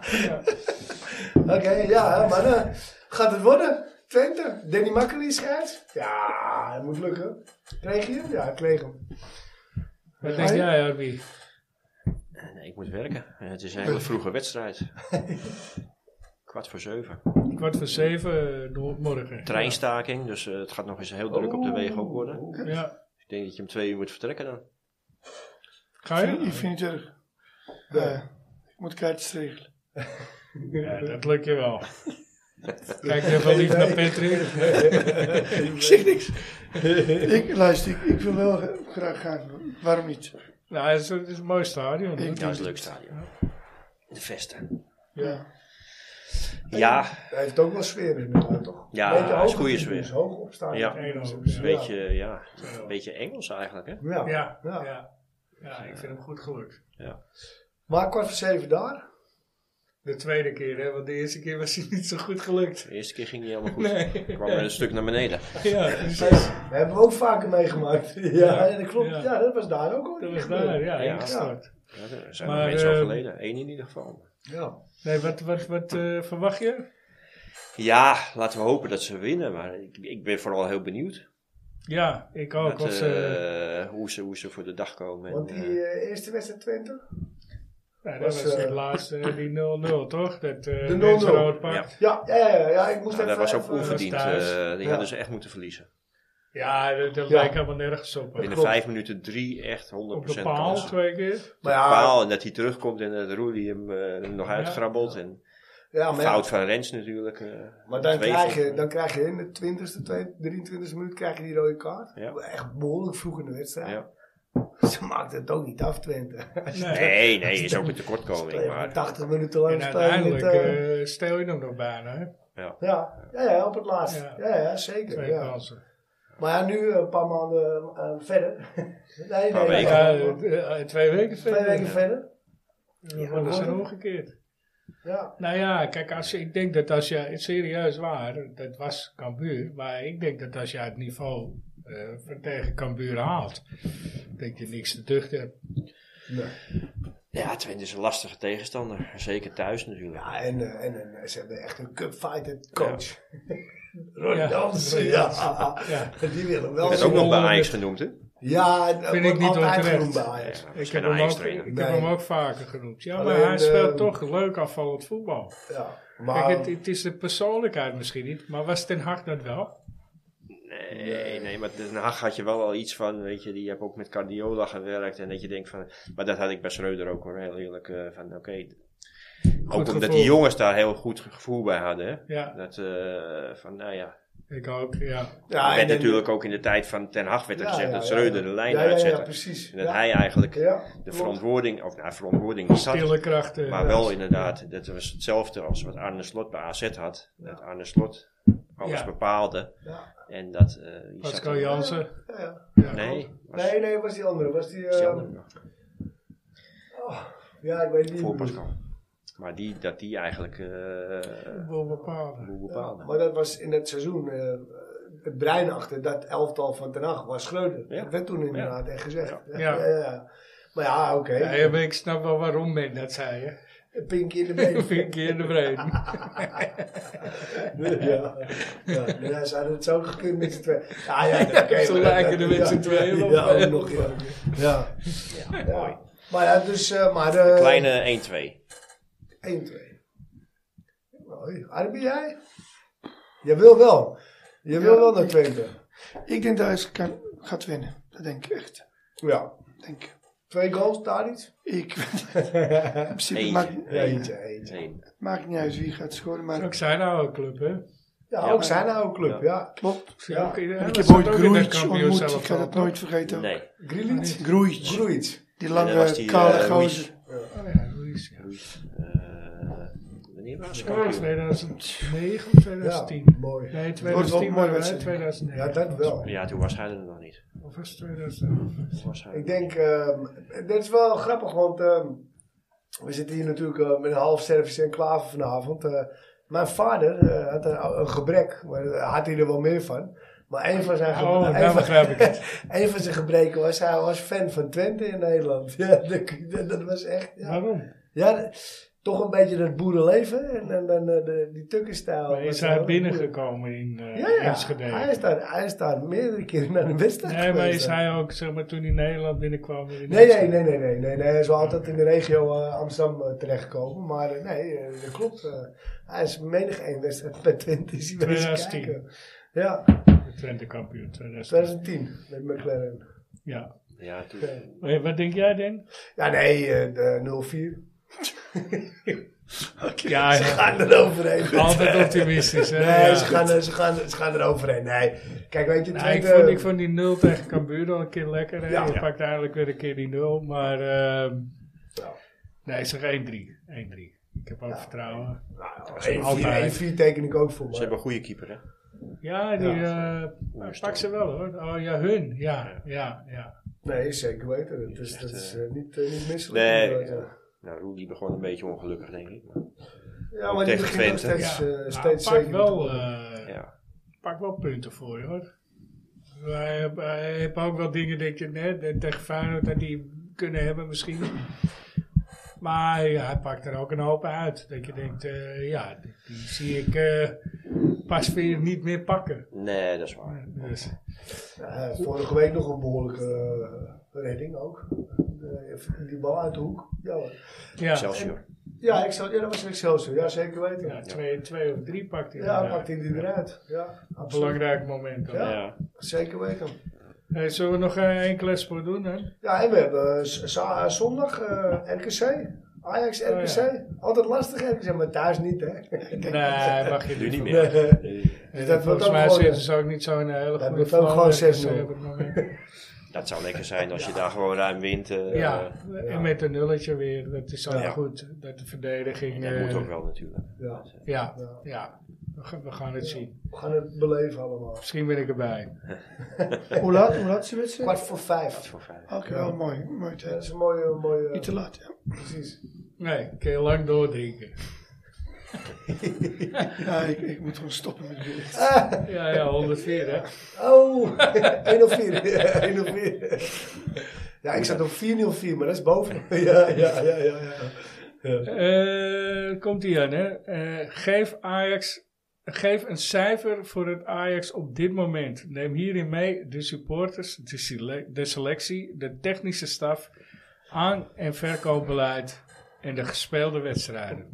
Ja. Oké, ja, mannen. Gaat het worden? Twente? Danny Makkely scheids? Ja, het moet lukken. Kreeg je hem? Ja, ik kreeg hem. Wat denk jij, Arby? Nee, ik moet werken. Het is een hele vroege wedstrijd. Kwart voor zeven. Kwart voor zeven eh, door morgen. Treinstaking, dus eh, het gaat nog eens heel druk op de wegen ook worden. Ja. Ik denk dat je om twee uur moet vertrekken dan. Ga je? Ik vind het erg. Eh, ik Moet ik uitstregelen. Ja, dat lukt je wel. Kijk even lief naar Patrick. Ik zeg niks. ik, luister, ik, ik wil wel gra- graag gaan. Waarom niet? Nou, het is, het is een mooi stadion. hè? Ja, dat is een leuk stadion. De Vesten. Ja. Ja, Hij heeft ook wel sfeer inderdaad, toch? Ja, Beetje dat is hoog goede op de sfeer. tribunes, Hoog opstaan. Ja. Een Dus een beetje, ja, een beetje Engels eigenlijk, hè? Ja. Ja, Ja. ja. ja, ik vind hem goed gelukt. Maar kwart voor zeven daar. De tweede keer, hè, want de eerste keer was hij niet zo goed gelukt. De eerste keer ging niet helemaal goed. Nee. Ik kwam er een stuk naar beneden. Ja, precies. We hebben we ook vaker meegemaakt. Ja, ja, dat klopt. Ja. Ja. dat was daar ook al. Dat was daar, ja, Ja. ingestort. Ja, er zijn Maar, nog mensen eh, overleden. Eén in ieder geval. Ja. Nee, wat, wat, wat eh, verwacht je? Ja, laten we hopen dat ze winnen. Maar ik, ik ben vooral heel benieuwd Ja, ik Oh, ook. wat, Of ze, eh, hoe, ze, hoe ze voor de dag komen. En, Want die eh, eh, eerste wedstrijd Twente? nou, dat was, was het eh, laatste, eh, die 0-0, toch? Dat eh De 0-0. rood pak. ja. Ja. Ja, ja, ja, ja, ja, ik moest Nou, even... dat was ook even- onverdiend. dat was thuis. eh, die Ja. hadden ze echt moeten verliezen. dat, dat Ja. lijkt helemaal nergens op. hè. Binnen Oh, klopt. vijf minuten drie echt 100% Op de paal kansen. twee keer. Maar De ja, paal en dat hij terugkomt en dat Roelie hem eh, nog uitgrabbelt. En ja, maar, ja, fout van Rens natuurlijk. eh, maar dan, twee krijg je, volgens dan krijg je in de 20e, 23e minuut krijg je die rode kaart. Ja. Echt behoorlijk vroeg in de mij. wedstrijd. Ja. Ze maakten het ook niet af, Twente. Nee, nee, is ook een Maar tekortkoming. Maar 80 minuten lang En spelen met... uiteindelijk eh, eh steel je hem nog bijna, hè? ja, ja, ja, op het laatst. Ja. Ja, ja, zeker. Twee Ja. kansen. Maar ja, nu eh, een paar maanden eh, verder. nee, nee, Paar weken. Ja, ja, eh, eh, twee weken twee verder. weken verder. Dan worden ze omgekeerd. Ja. Nou ja, kijk, als, je- ik denk dat als je het serieus waar, dat was Cambuur, maar ik denk dat als je het niveau eh, van tegen Cambuur haalt, dat je niks te duchten hebt. ja, Twente is een lastige tegenstander. Zeker thuis natuurlijk. Ja, en, eh, en, en ze hebben echt een cupfighter coach. Ronnie Ja. Jansen, Ronnie ja. Ja. Die willen wel Werd ook nog bij honderd- eh, Ajax genoemd, hè? Ja, en, Vind ik niet altijd onterecht. genoemd bij Ajax. Ja, Ik ik heb, ben hem Ajax ook, trainer. ik heb hem Nee. ook vaker genoemd. Ja, maar Alleen hij de- speelt toch leuk afvallend voetbal. Ja. Kijk, Maar, het, het is de persoonlijkheid misschien niet, maar was Ten Hag dat wel? Nee, nee, maar Den Haag had je wel al iets van, weet je, die heb ook met Cardiola gewerkt en dat je denkt van, maar dat had ik bij Schreuder ook hoor, heel eerlijk, eh, van oké. Ook omdat gevoel. die jongens daar heel goed gevoel bij hadden, hè. Ja, Dat, eh, van, nou ja, ik ook, ja. ja, er en- werd natuurlijk ook in de tijd van Ten Hag werd er Ja, gezegd ja, dat ja, Schreuder ja. de lijn Ja, ja, ja, uitzette. precies. En dat Ja. hij eigenlijk Ja, de klopt. verantwoording, of nou verantwoording niet had, Stille krachten. eh, maar wel inderdaad, dat was hetzelfde als wat Arne Slot bij AZ had. Dat Arne Slot alles Ja. bepaalde Ja. en dat... eh, die zat Pascal er- Jansen. eh, Ja, ja. Nee, was- Nee, nee, was die andere. Was die, eh, was die andere nog. ja, ik weet niet. voor Pascal. Maar die, dat die eigenlijk eh Wil bepalen. hoe Ja, bepaalde. maar dat was in het seizoen eh, het brein achter dat elftal van Ten Hag was Schreuder. Ja. Dat werd toen inderdaad echt gezegd. Ja. ja. Maar ja, oké. Ja, ja, maar ik snap wel waarom men dat zei, hè. Een Pinkje in de Of been. een keer in de brein. ja. Ja, ja, ze hadden het zo gekund met z'n tweeën. Ah, Ja, ja, oké, ze maar dat- lijken er dat- met ja. z'n tweeën op. Ja, ook nog, ja. Ja. Ja. Maar ja, dus... eh maar, eh Kleine 1-2. 1, 2. Mooi. Arby, jij? Je wil wel. Je wil wel naar Twente. Ik denk dat Ajax kan, gaat winnen. Dat denk ik echt. Ja. Denk. ik. Twee goals, daar iets? Ik weet In principe Eentje. maakt, Eentje, eentje. Eén. maakt niet uit wie gaat scoren, maar nou Ook zijn oude club, hè? Ja, ook zijn oude club, ja. klopt. Ja. Ook, ja, Ik dat heb zat ooit ook in dat Groeitje kampioenselftal, ontmoet, ik ga dat toch? nooit vergeten. Nee. Grilic. Groeitje, Gruic. die En dan was lange, die, kale eh, Ruiz. gozer. Oh ja, Ruiz, ja. Eh, wanneer was het? Ja, kampioen? 2009 of Ja, 2010? mooi. Nee, wordt wel een 2010 waren mooie wij, wedstrijd. 2009. Ja, dat wel. Ja, toen was hij er nog niet. Of was het 2011? Toen was hij er Ik nog denk, niet. ehm dit is wel grappig, want ehm, we zitten hier natuurlijk eh, met een half service en klaver vanavond. Eh, mijn vader eh, had een, een gebrek, maar daar had hij er wel meer van. Maar een van zijn, Oh, een nou van- begrijp ik het. een van zijn gebreken was, hij was fan van Twente in Nederland. Ja, dat, dat was echt... Ja, Waarom? ja d- toch een beetje dat boerenleven en, en, en eh, de, die tukkenstijl. Maar is Dat, eh, hij binnengekomen in eh Ja, ja. Enschede? Hij is, daar, hij is daar meerdere keren naar de wedstrijd Nee, maar geweest. is hij ook, zeg maar, toen hij Nederland binnenkwam? in Nee, nee, Enschede? nee, nee, nee, nee, nee. Hij is wel altijd in de regio eh, Amsterdam eh, terechtgekomen. Maar eh, nee, eh, dat klopt. eh. hij is menig één wedstrijd bij Twente. Is hij bezig 2010. kijken. Ja, Twente kampioen, 2010. 2010 met McLaren. Ja. Eh, Ja, toen, Oké. Hey, Wat denk jij, Den? Ja, nee, eh, de 0-4. Ja, ja. Ze gaan eroverheen. Altijd optimistisch. Hè? Nee, Ja. ze, gaan, er- ze, gaan, ze gaan eroverheen. Nee. Kijk, weet je, Nou, ik, Twente- vond, ik vond die 0 tegen Cambuur al een keer lekker. Hè? Ja. Je pakt eigenlijk weer een keer die 0. Maar ehm nee, zeg 1-3. 1-3. Ik heb ook vertrouwen. Nou, altijd. 1-4 1-4 teken ik ook voor. Ze Maar. hebben een goede keeper, hè? Ja, die Ja. eh, pak ze wel hoor. Oh ja, hun. Ja, ja, ja. Nee, zeker weten. Dat is, dat is eh, niet, eh, niet misselijk. Nee. Ja. Nou, Roelie begon een beetje ongelukkig, denk ik. Maar, Ja, Ook maar die tegen begint nog Twente. steeds, ja. eh, Nou, steeds pak, zeker te wel, worden. eh, ja. pak wel punten voor je hoor. Wij hebben wij hebben ook wel dingen dat je net tegen Feyenoord dat die kunnen hebben misschien. Maar ja, hij pakt er ook een hoop uit. Dat je denkt, eh, ja, die, die zie ik eh, pas weer niet meer pakken. Nee, dat is waar. Dus, eh. Ja, vorige week nog een behoorlijke eh, redding ook. Eh, die bal uit de hoek. Ja, hoor. ja, Excelsior. ja, ik zou, ja dat was Excelsior. Ja, zeker weten. ja Ja, twee, twee of drie pakt hij. eruit. pakt hij die eruit. Ja, absoluut. Belangrijk moment. hoor. Ja. Ja. Zeker weten. Hey, zullen we nog eh, één klas voor doen? Hè? Ja, en we hebben eh, z- za- eh, zondag eh, RKC. Ajax, Oh, RKC. Altijd lastig RKC, maar thuis niet hè. Nee, mag je Nu niet doen. meer. Eh, dat wordt volgens ook mij gewoon- zitten ze ook niet zo'n hele Dat goede wordt ook flow, gewoon eh, ze 6-0. hebben nog een- Dat zou lekker zijn als je daar gewoon ruim wint. eh, Ja, ja. en met een nulletje weer. Dat is altijd Ja. goed. Dat de en verdediging. dat eh, moet ook wel natuurlijk. Dus, eh, Ja, Ja, Ja. ja. We gaan- we gaan het zien. we gaan het beleven allemaal. Misschien ben ik erbij. Hoe laat, hoe laat is de wedstrijd? Kwart voor vijf. Voor vijf. Oké, wel mooi. Mooi Ja, dat tijd. is een mooie, mooie Niet te laat, ja. precies. Nee, kun je lang doordrinken. Ja, ik, ik moet gewoon stoppen met jullie. Ja, ja, 104 hè. Oh, 104. 104. Ja, ik zat op 404, maar dat is boven. Ja, ja, ja, ja. ja. ja. Eh, komt ie aan hè. Eh, geef Ajax... Geef een cijfer voor het Ajax op dit moment. Neem hierin mee de supporters, de, sele- de selectie, de technische staf, aan- en verkoopbeleid en de gespeelde wedstrijden.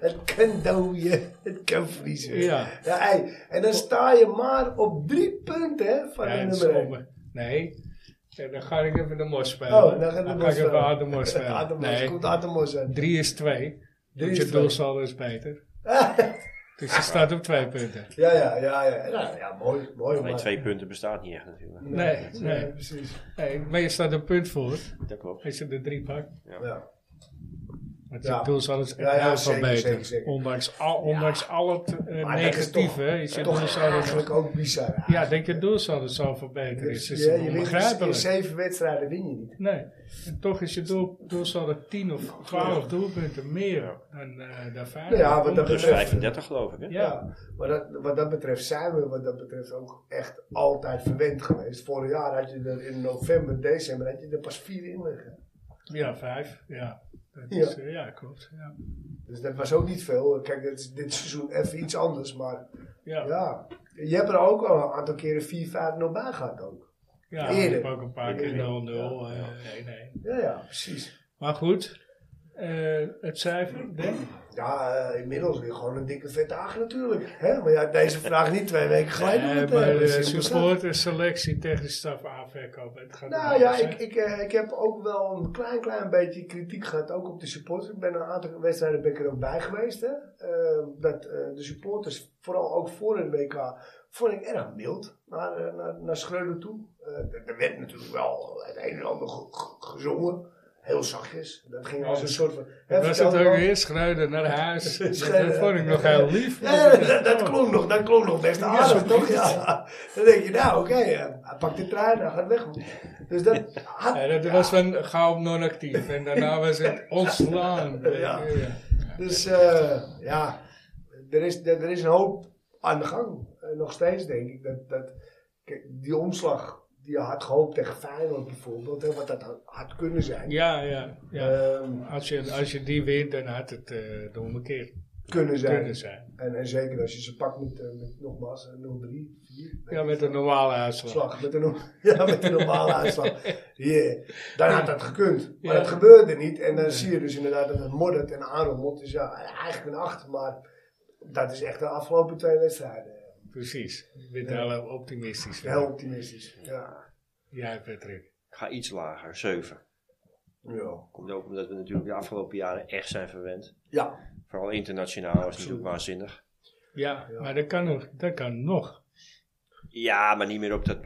Het kan dooien, het kan vriezen. Ja. ja hey, en dan sta je maar op drie punten hè, van Ja, de dat is nummer één. zonde. Nee. Ja, dan ga ik even de mos spelen. Oh, dan gaat het ga ik even Ademos spelen. Ademos, nee, komt Ademos aan. 3 is 2. Dus Drie is je twee. doelsaldo is beter. Dus je staat op 2 punten. Ja, ja, ja, ja. nou, Ja, ja mooi, mooi. Alleen maar- twee punten bestaat niet echt natuurlijk. Nee, nee. precies. nee. Maar je staat een punt voor Dat klopt. als je de 3 pakt. Ja. Want Ja. je doelsaldo is echt Ja, ja, heel veel zeker, beter. zeker, zeker. Ondanks, al, ondanks al het eh, Maar dat is negatieve toch- is je toch doelsaldo... eigenlijk ook bizar. Ja, denk je dus doelsaldo zo veel beter is. is ja, het je wint dus in onbegrijpelijk. zeven wedstrijden win je niet. Nee, en toch is je doel, doelsaldo 10 of 12 doelpunten meer dan eh daar Nou Feyenoord. ja, wat dat Plus betreft- 35 geloof ik. Hè? Ja. Ja, maar dat, wat dat betreft zijn we wat dat betreft ook echt altijd verwend geweest. Vorig jaar had je er in november, december, had je er pas vier in liggen. Ja, vijf. Ja, dat is, eh, ja klopt. Ja. Dus dat was ook niet veel. Kijk, dit, is- dit seizoen even iets anders, maar Ja, ja. ja. Je hebt er ook al een aantal keren 4-5-0 bij gehad ook. ik heb eerder. ook een paar keer 0-0. Eerder. eh, nee, nee. Ja, ja, precies. Maar goed, eh, het cijfer, denk ik. Ja, eh, inmiddels weer gewoon een dikke vette aag natuurlijk. Hè? Maar ja, deze vraag niet twee weken geleden. Eh, moeten bij hebben. de Simpel zat. supporters selectie tegen de staf aanverkopen. Het gaat Nou om ja, alles, hè? ik, ik, eh, ik heb ook wel een klein, klein beetje kritiek gehad, ook op de supporters. Ik ben een aantal wedstrijden ben ik er ook bij geweest. Hè? Eh, dat eh, de supporters, vooral ook voor het WK, vond ik erg mild naar, eh, naar, naar Schreuder toe. Eh, er- er werd natuurlijk wel het een en ander ge- ge- gezongen, heel zachtjes. Dat ging als een soort van... hè, Dat was vertel het ook wel. weer, schreuden naar huis. dat Schreuden. dat vond ik nog heel lief. Ja, dat- dat, dat klonk nog, dat klonk nog best aardig, toch? Ja. Dan denk je, nou oké, eh, hij pakt de trein, hij gaat weg. Dus dat had- Ja, dat was van gauw non-actief. En daarna was het ontslaan. Ja. Dus eh, ja, er is, er, er is een hoop aan de gang. Eh, nog steeds denk ik dat, dat kijk, die omslag die je had gehoopt tegen Feyenoord bijvoorbeeld, hè, wat dat had, had kunnen zijn. Ja, ja, ja. Ehm, Als je, als je die wint, dan had het eh de omgekeerd kunnen zijn. kunnen zijn. En, en zeker als je ze pakt met, eh, met nogmaals eh, 0-3, 4. Ja, met een normale uitslag. Slag, met een, no- ja, met een normale uitslag. Yeah. Dan had dat gekund. Maar Ja. dat gebeurde niet. En dan zie je dus inderdaad dat het moddert en aanrommelt. Dus ja, eigenlijk een 8. Maar dat is echt de afgelopen twee wedstrijden. Precies. Je bent heel optimistisch. hè? Heel optimistisch. Ja. Jij, Patrick. Ik ga iets lager, 7. Ja. Komt ook omdat we natuurlijk de afgelopen jaren echt zijn verwend. Ja. Vooral internationaal was het natuurlijk waanzinnig. Ja, maar dat kan nog. Dat kan nog. Ja, maar niet meer op dat, eh,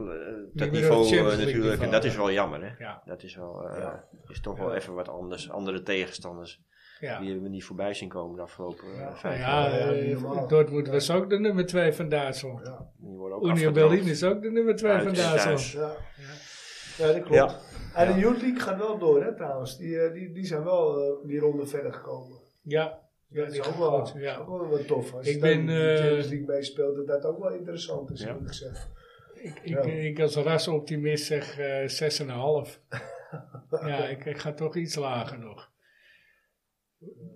dat op niveau het Champions eh, League natuurlijk. En niveau, dat is ja. wel jammer, hè? Ja. Dat is, wel, eh, Ja. is toch wel even wat anders. Andere tegenstanders. Ja. Die hebben we niet voorbij zien komen de afgelopen eh, Nou vijf jaar. ja, Ja, niet eh, normaal. Dortmund was ook de nummer 2 van Duitsland. Die worden ook Union afgedroogd. Berlin is ook de nummer 2 Uit van is Duitsland. thuis. Ja. ja, dat klopt. Ja. En de Youth League gaat wel door, hè, trouwens. Die, eh, die, die zijn wel eh, die ronde verder gekomen. Ja, Ja, ja, dat die is ook gaan wel, goed, ja. ook wel wat tof. Als Ik ik ben, ben, de eh, Champions League meespeelt, dat dat ook wel interessant is, Ja. moet ik zeggen. Ik, ik, Ja. ik als rasoptimist zeg eh 6,5. ja, ik, ik ga toch iets lager nog.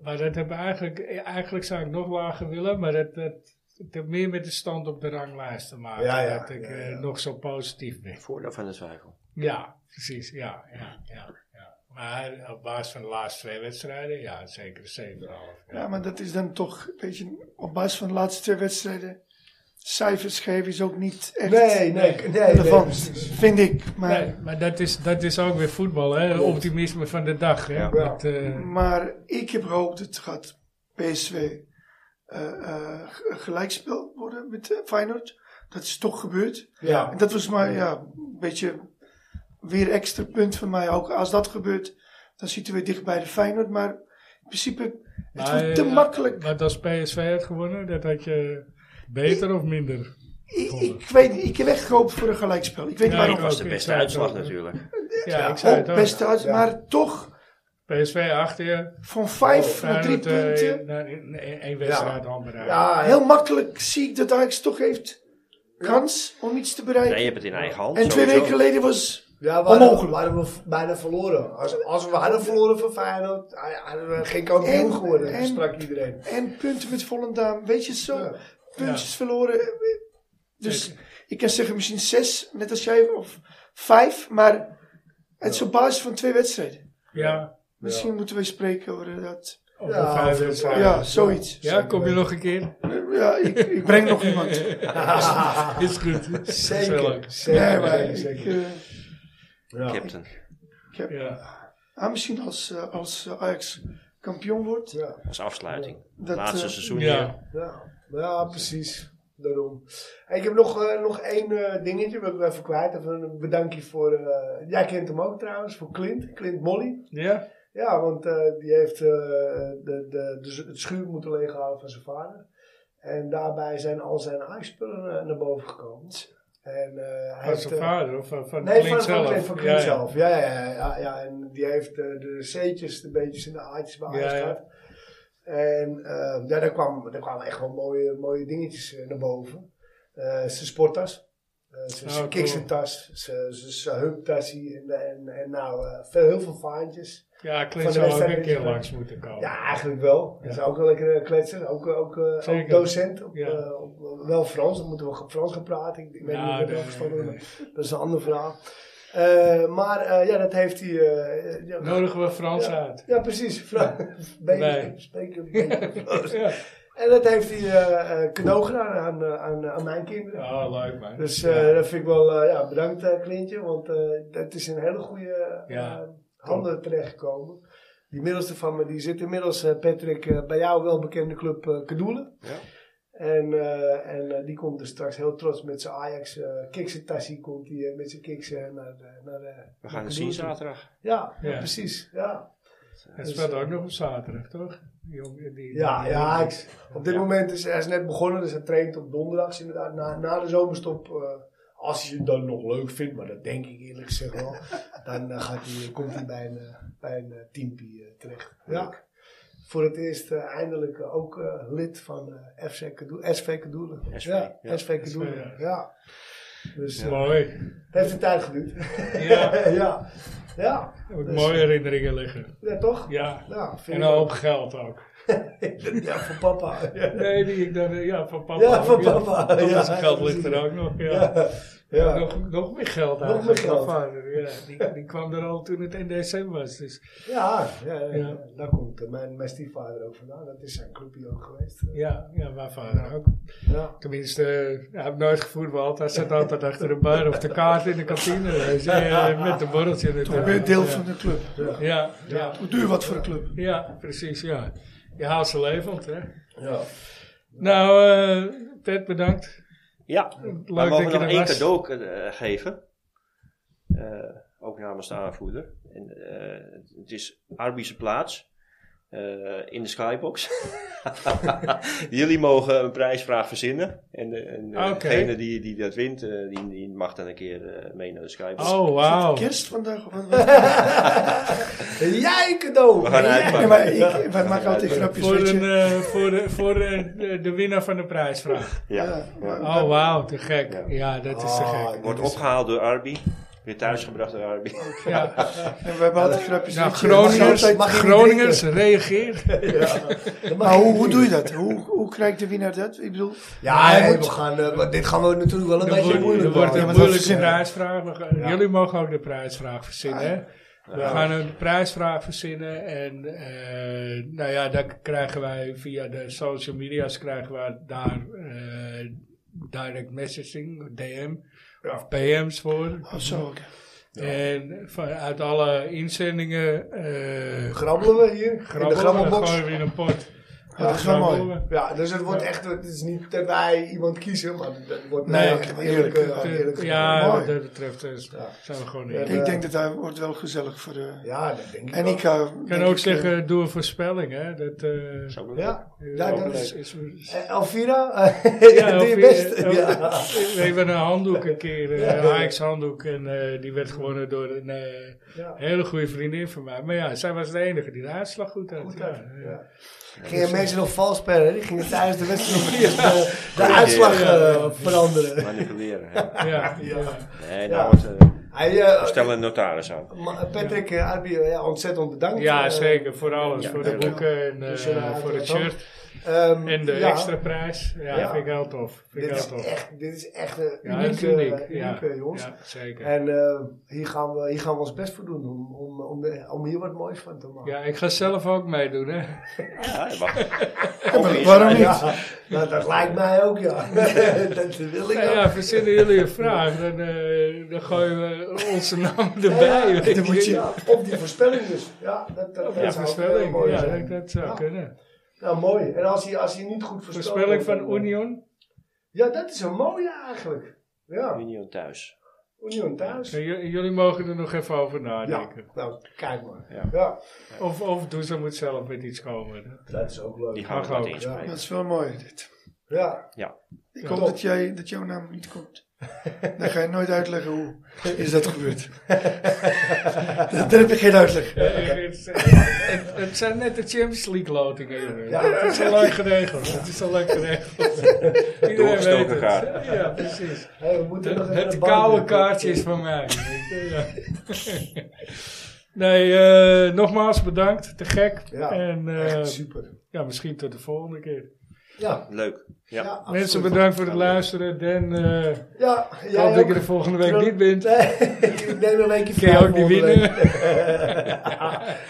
Maar dat heb ik eigenlijk, eh, eigenlijk zou ik nog lager willen, maar dat, dat, het heeft meer met de stand op de ranglijst te maken. Ja, ja, dat ik ja, eh, ja. nog zo positief ben. Voordeel van de twijfel. Ja, precies. Ja, ja, ja, ja. Maar op basis van de laatste twee wedstrijden, ja, zeker een 7,5. Ja. Ja, maar dat is dan toch, weet je, op basis van de laatste twee wedstrijden, cijfers geven is ook niet echt Nee, nee, nee, nee, relevant, precies. vind ik. Maar, Nee, maar dat is, dat is ook weer voetbal, hè? Optimisme van de dag, hè? Ja. Dat, eh, maar ik heb gehoopt, het gaat PSV eh, eh, g- gelijkspel worden met eh, Feyenoord. Dat is toch gebeurd. Ja. En dat was maar ja, een beetje weer extra punt van mij. Ook als dat gebeurt, dan zitten we dicht bij de Feyenoord. Maar in principe, het maar, wordt te eh, makkelijk. Want als PSV had gewonnen, dat had je beter of minder. Ik, ik, weet, niet, ik heb echt gehoopt voor een gelijkspel. Ik weet Ja, niet ik Dat waarom. was de ook, ik beste zei uitslag het ook, hè. natuurlijk. Ja, Oh, ik zei Ook het ook. best uit, Ja. maar toch PSV achter je. van vijf naar drie Feyenoord, eh, punten. naar- in- in- één wedstrijd aan bereikt. Ja, heel Heel makkelijk zie ik dat Ajax toch heeft kans om iets te bereiken. Nee, je hebt het in eigen hand. en twee sowieso. weken geleden was... ja we hadden- Onmogelijk. we hadden we v- bijna verloren. Als, als we hadden verloren van Feyenoord, hadden we geen kampioen En- geworden, en- sprak iedereen. En punten met Volendam, weet je zo. Ja. Puntjes verloren. Dus ik kan zeggen misschien zes, net als jij, of vijf. Maar het is op basis van twee wedstrijden. Ja, Misschien moeten we spreken over dat. of Ja, een vijf of- wedstrijden. Ja, zoiets. Ja, kom je nog een keer? Ja, ik, ik breng nog iemand. Is goed. Zeker. Gezellig. Nee, Zeker. maar Nee, ik, zeker. eh, Ja. Captain. ik heb, Ja. ah, misschien als, eh, als eh, Ajax kampioen wordt. Ja. Als afsluiting. Dat, Laatste eh, seizoen ja. hier. Ja, ja precies. Daarom. Hey, ik heb nog, eh, nog één eh, dingetje, wil ik wel even kwijt. Even een bedankje voor, eh, jij kent hem ook trouwens, voor Clint, Clint Molly. Ja? Ja, want eh, die heeft eh, de, de, de, z- het schuur moeten leeghalen van zijn vader. En daarbij zijn al zijn ijspullen naar boven gekomen. En, eh, hij Van heeft, zijn eh, vader of van, van Nee, Klink van, van, zelf? Clint, van Ja, Clint ja. zelf. Ja, ja, ja. ja, ja. En die heeft eh, de C'tjes, de beetjes en de A'tjes bij Ja, Ajax ja. gehad. En eh, ja, daar, kwam, daar kwamen echt wel mooie, mooie dingetjes eh, naar boven. Eh, zijn sporttas, eh, zijn Oh, zijn cool. kiksentas, zijn- zijn- zijn heuptassie en, en, en nou, eh, veel, heel veel vaantjes. Ja, Van Klink de zou ook wedstrijd een is keer het- langs moeten komen. Ja, eigenlijk wel. Dat is ook een lekkere kletser. Ook, ook, eh, ook Zeker. docent. Op, Ja. eh, op- wel Frans, dan moeten we ge- Frans gaan praten. Ik, ik weet Ja, niet hoe nee, dat afgestanden wordt. nee. Dat is een ander verhaal. Eh, maar eh, ja, dat heeft hij. eh, eh, ja, Nodigen we Frans ja, uit. Ja, precies. Fra- Beetje- Nee. spreek een beetje Frans. Ja. En dat heeft hij eh, eh, cadeau gedaan aan, eh, aan, aan mijn kinderen. Oh, leuk man. Dus Ja. eh, dat vind ik wel, eh, ja, bedankt eh, Clintje, want eh, dat is een hele goede eh, Ja. handen terechtgekomen. Die middelste van me, die zit inmiddels, eh, Patrick, eh, bij jou welbekende club eh Kadoelen. Ja. En, eh, en eh, die komt dus straks heel trots met zijn Ajax eh kiksen tassie, komt hij met zijn kiksen naar, de- naar de- We gaan naar het zien Kadoelen toe. zaterdag. Ja, ja, Ja. precies. Ja, Hij speelt ook nog op zaterdag, toch? Die jongen, die- ja, die- ja die- ik- op dit moment is hij is net begonnen, dus hij traint op donderdags inderdaad. Na, na de zomerstop, eh, als hij het dan nog leuk vindt, maar dat denk ik eerlijk gezegd wel, dan eh, gaat hij, komt hij bij een, eh, bij een eh, teampie eh, terecht. Ja. Voor het eerst eh, eindelijk eh, ook eh, lid van eh, FC Kadoelen, SV Kadoelen. SV, ja, ja. SV Kadoelen, SV, ja. Dus eh, Mooi. het heeft een tijd geduurd. Ja. ja. Ja. Heb ik Dus, mooie herinneringen liggen. ja, toch? Ja. Ja, vind En ik een ook. hoop geld ook. ja, voor papa. Ja, Nee, die ik dacht, eh, ja, van papa. Ja, van ook, papa, Want ja, zijn geld ligt er precies. ook nog, ja. ja. ja. Nog, nog meer geld Nog eigenlijk, meer geld. van vader, ja. Die, die kwam er al toen het NDSM was, dus Ja, ja, ja, Ja. daar komt eh, mijn, mijn stiefvader ook vandaan. Dat is zijn clubje ook geweest. ja, ja mijn vader ook. Ja. Tenminste, eh, hij heeft nooit gevoetbald. Hij zat altijd achter de bar of de kaart in de kantine. weet je, eh, met de borreltje natuurlijk. Je bent deel Ja. van de club. Ja, ja, Hoe duur wat voor de club? ja, precies, ja. Je haalt ze levend, hè. Ja. Nou, eh Ted, bedankt. Ja, Leuk we dat mogen je nog er één was. cadeau eh, geven. Eh, ook namens de aanvoerder. En, eh, het is Arbische plaats. eh, in de skybox. Jullie mogen een prijsvraag verzinnen. En, de- en eh, Oké. degene die, die dat wint, eh, die, die mag dan een keer eh, mee naar de skybox. Oh, wauw. Kerst vandaag? Of wat- wat- Jij cadeau! We gaan uitpakken. Nee, maar ik, wij maken altijd Ja. grapjes, Voor, weet een, je. eh, voor, de, voor eh, de, de winnaar van de prijsvraag. Ja. maar- Oh, wauw, te gek. Ja. Ja, dat is te Ah, gek. Wordt dit is- opgehaald door Arby. Weer thuisgebracht door Arby. Ja. En we hebben altijd grapjes, Nou, weet je. Je mag Groningers, altijd- mag je niet Groningers reageer. Dat mag Maar hoe, ik hoe niet. doe je dat? Hoe, hoe krijgt de winnaar dat? Ik bedoel, Ja, Hij nee, moet- we gaan, eh, maar dit gaan we natuurlijk wel een Er beetje wordt- moeilijk er wordt maken. een want dat moeilijke verzinnen. prijsvraag. nog. Jullie mogen ook de prijsvraag verzinnen. hè? We gaan een prijsvraag verzinnen. En eh, nou ja, daar krijgen wij via de social media's krijgen wij daar eh, direct messaging, DM of PM's voor. oh, zo, oké. En vanuit alle inzendingen eh Grabbelen we hier in de grabbelen we, grabbelbox. gooien we in een pot. Ja, Oh, dat is wel mooi. Grabbelen we. Ja, dus het wordt echt, het is niet dat wij iemand kiezen, maar dat wordt Nee, wel echt eerlijk. eh, Eh, eerlijk ja, mooi. wat dat betreft eh, zijn we gewoon eerlijk. Ja. Ik denk dat hij wordt wel gezellig voor de... ja, dat denk ik En wel. ik eh, Ik denk kan ook ik, eh, zeggen, doe een voorspelling. Hè? Dat, eh, Ja, eh, ja, dat is- is- is... is- Eh, Elvira, ja, doe je best. eh, Ja. We hebben een handdoek een keer, eh Ajax handdoek. En eh, die werd gewonnen door een eh, Ja. hele goede vriendin van mij. Maar ja, zij was de enige die de uitslag goed had. Goed ja, uit, ja. ja. Gingen mensen nog vals spelen, hè? die gingen tijdens de wedstrijd nog eens de, de Ja. uitslag eh, Ja. veranderen. Manipuleren. Ja. Ja, Ja. ja. Ja. Nee, daar wordt, eh, Hij, eh, stel een notaris aan. Ma- Patrick, eh, Abi, ja, ontzettend bedankt. Ja, Eh, zeker. Voor alles. voor de tuurlijk. boeken en eh, Dus, eh, voor het dan- shirt. ehm, En de ja, extra prijs. Ja, Ja. vind ik heel tof. Vind Dit ik heel is, tof. echt, dit is echt een ja, unieke, het is uniek. eh, ja. unieke, jongens. Ja, zeker. En eh, hier, gaan we, hier gaan we ons best voor doen om, om, om, de- om hier wat moois van te maken. ja, ik ga zelf ook meedoen, hè. Ja, je mag. Waarom niet? Ja, nou, dat lijkt mij ook, ja. dat wil ik Ja, ook. ja, verzinnen jullie een vraag, dan, eh, dan gooien we onze naam erbij. Ja, weet dan moet je- je. ja, op die voorspelling dus. Ja, dat, dat, Ja, dat zou ook heel voorspelling. mooi Ja, zijn. dat, dat zou Ja. kunnen. Nou, mooi. En als hij, als hij niet goed voorspelt... Voorspelling dan- eh, van Union. Ja, dat is een mooie eigenlijk. Ja, Union thuis. Union thuis. Ja, j- jullie mogen er nog even over Ja, nadenken. nou, kijk maar. Ja. ja. Of, of Doeza moet zelf met iets komen. Dat is ook leuk. Die Ja. gaan we wat ook, inspreken. Dat is wel mooi, dit. Ik hoop Top. dat, jij, dat jouw naam niet komt. Dan ga je nooit uitleggen hoe is dat gebeurd. dat, daar heb je geen uitleg. Eh, het, het- het zijn net de Champions League lotingen. jongen. Het is al leuk geregeld. Het is al leuk geregeld. Iedereen Doorgestoken weet het. kaart. Ja, precies. Hey, we moeten nog Het, even het een koude bandje. kaartje is van mij. Ja. nee, eh, nogmaals bedankt. Te gek. Ja, en eh, Echt super. ja, misschien tot de volgende keer. Ja, Leuk. Ja. ja absoluut. Mensen, bedankt voor het luisteren. Dan eh ik Ja, jij hoop dat je ook. er volgende week Terug- niet bent. Nee, ik neem een weekje Kun je vrij ook niet volgende winnen. week.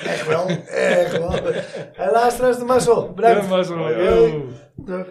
Echt wel, echt wel. Helaas, rest de mazzel. Bedankt. Ja, maar zo. Hoi, Yo. Dag.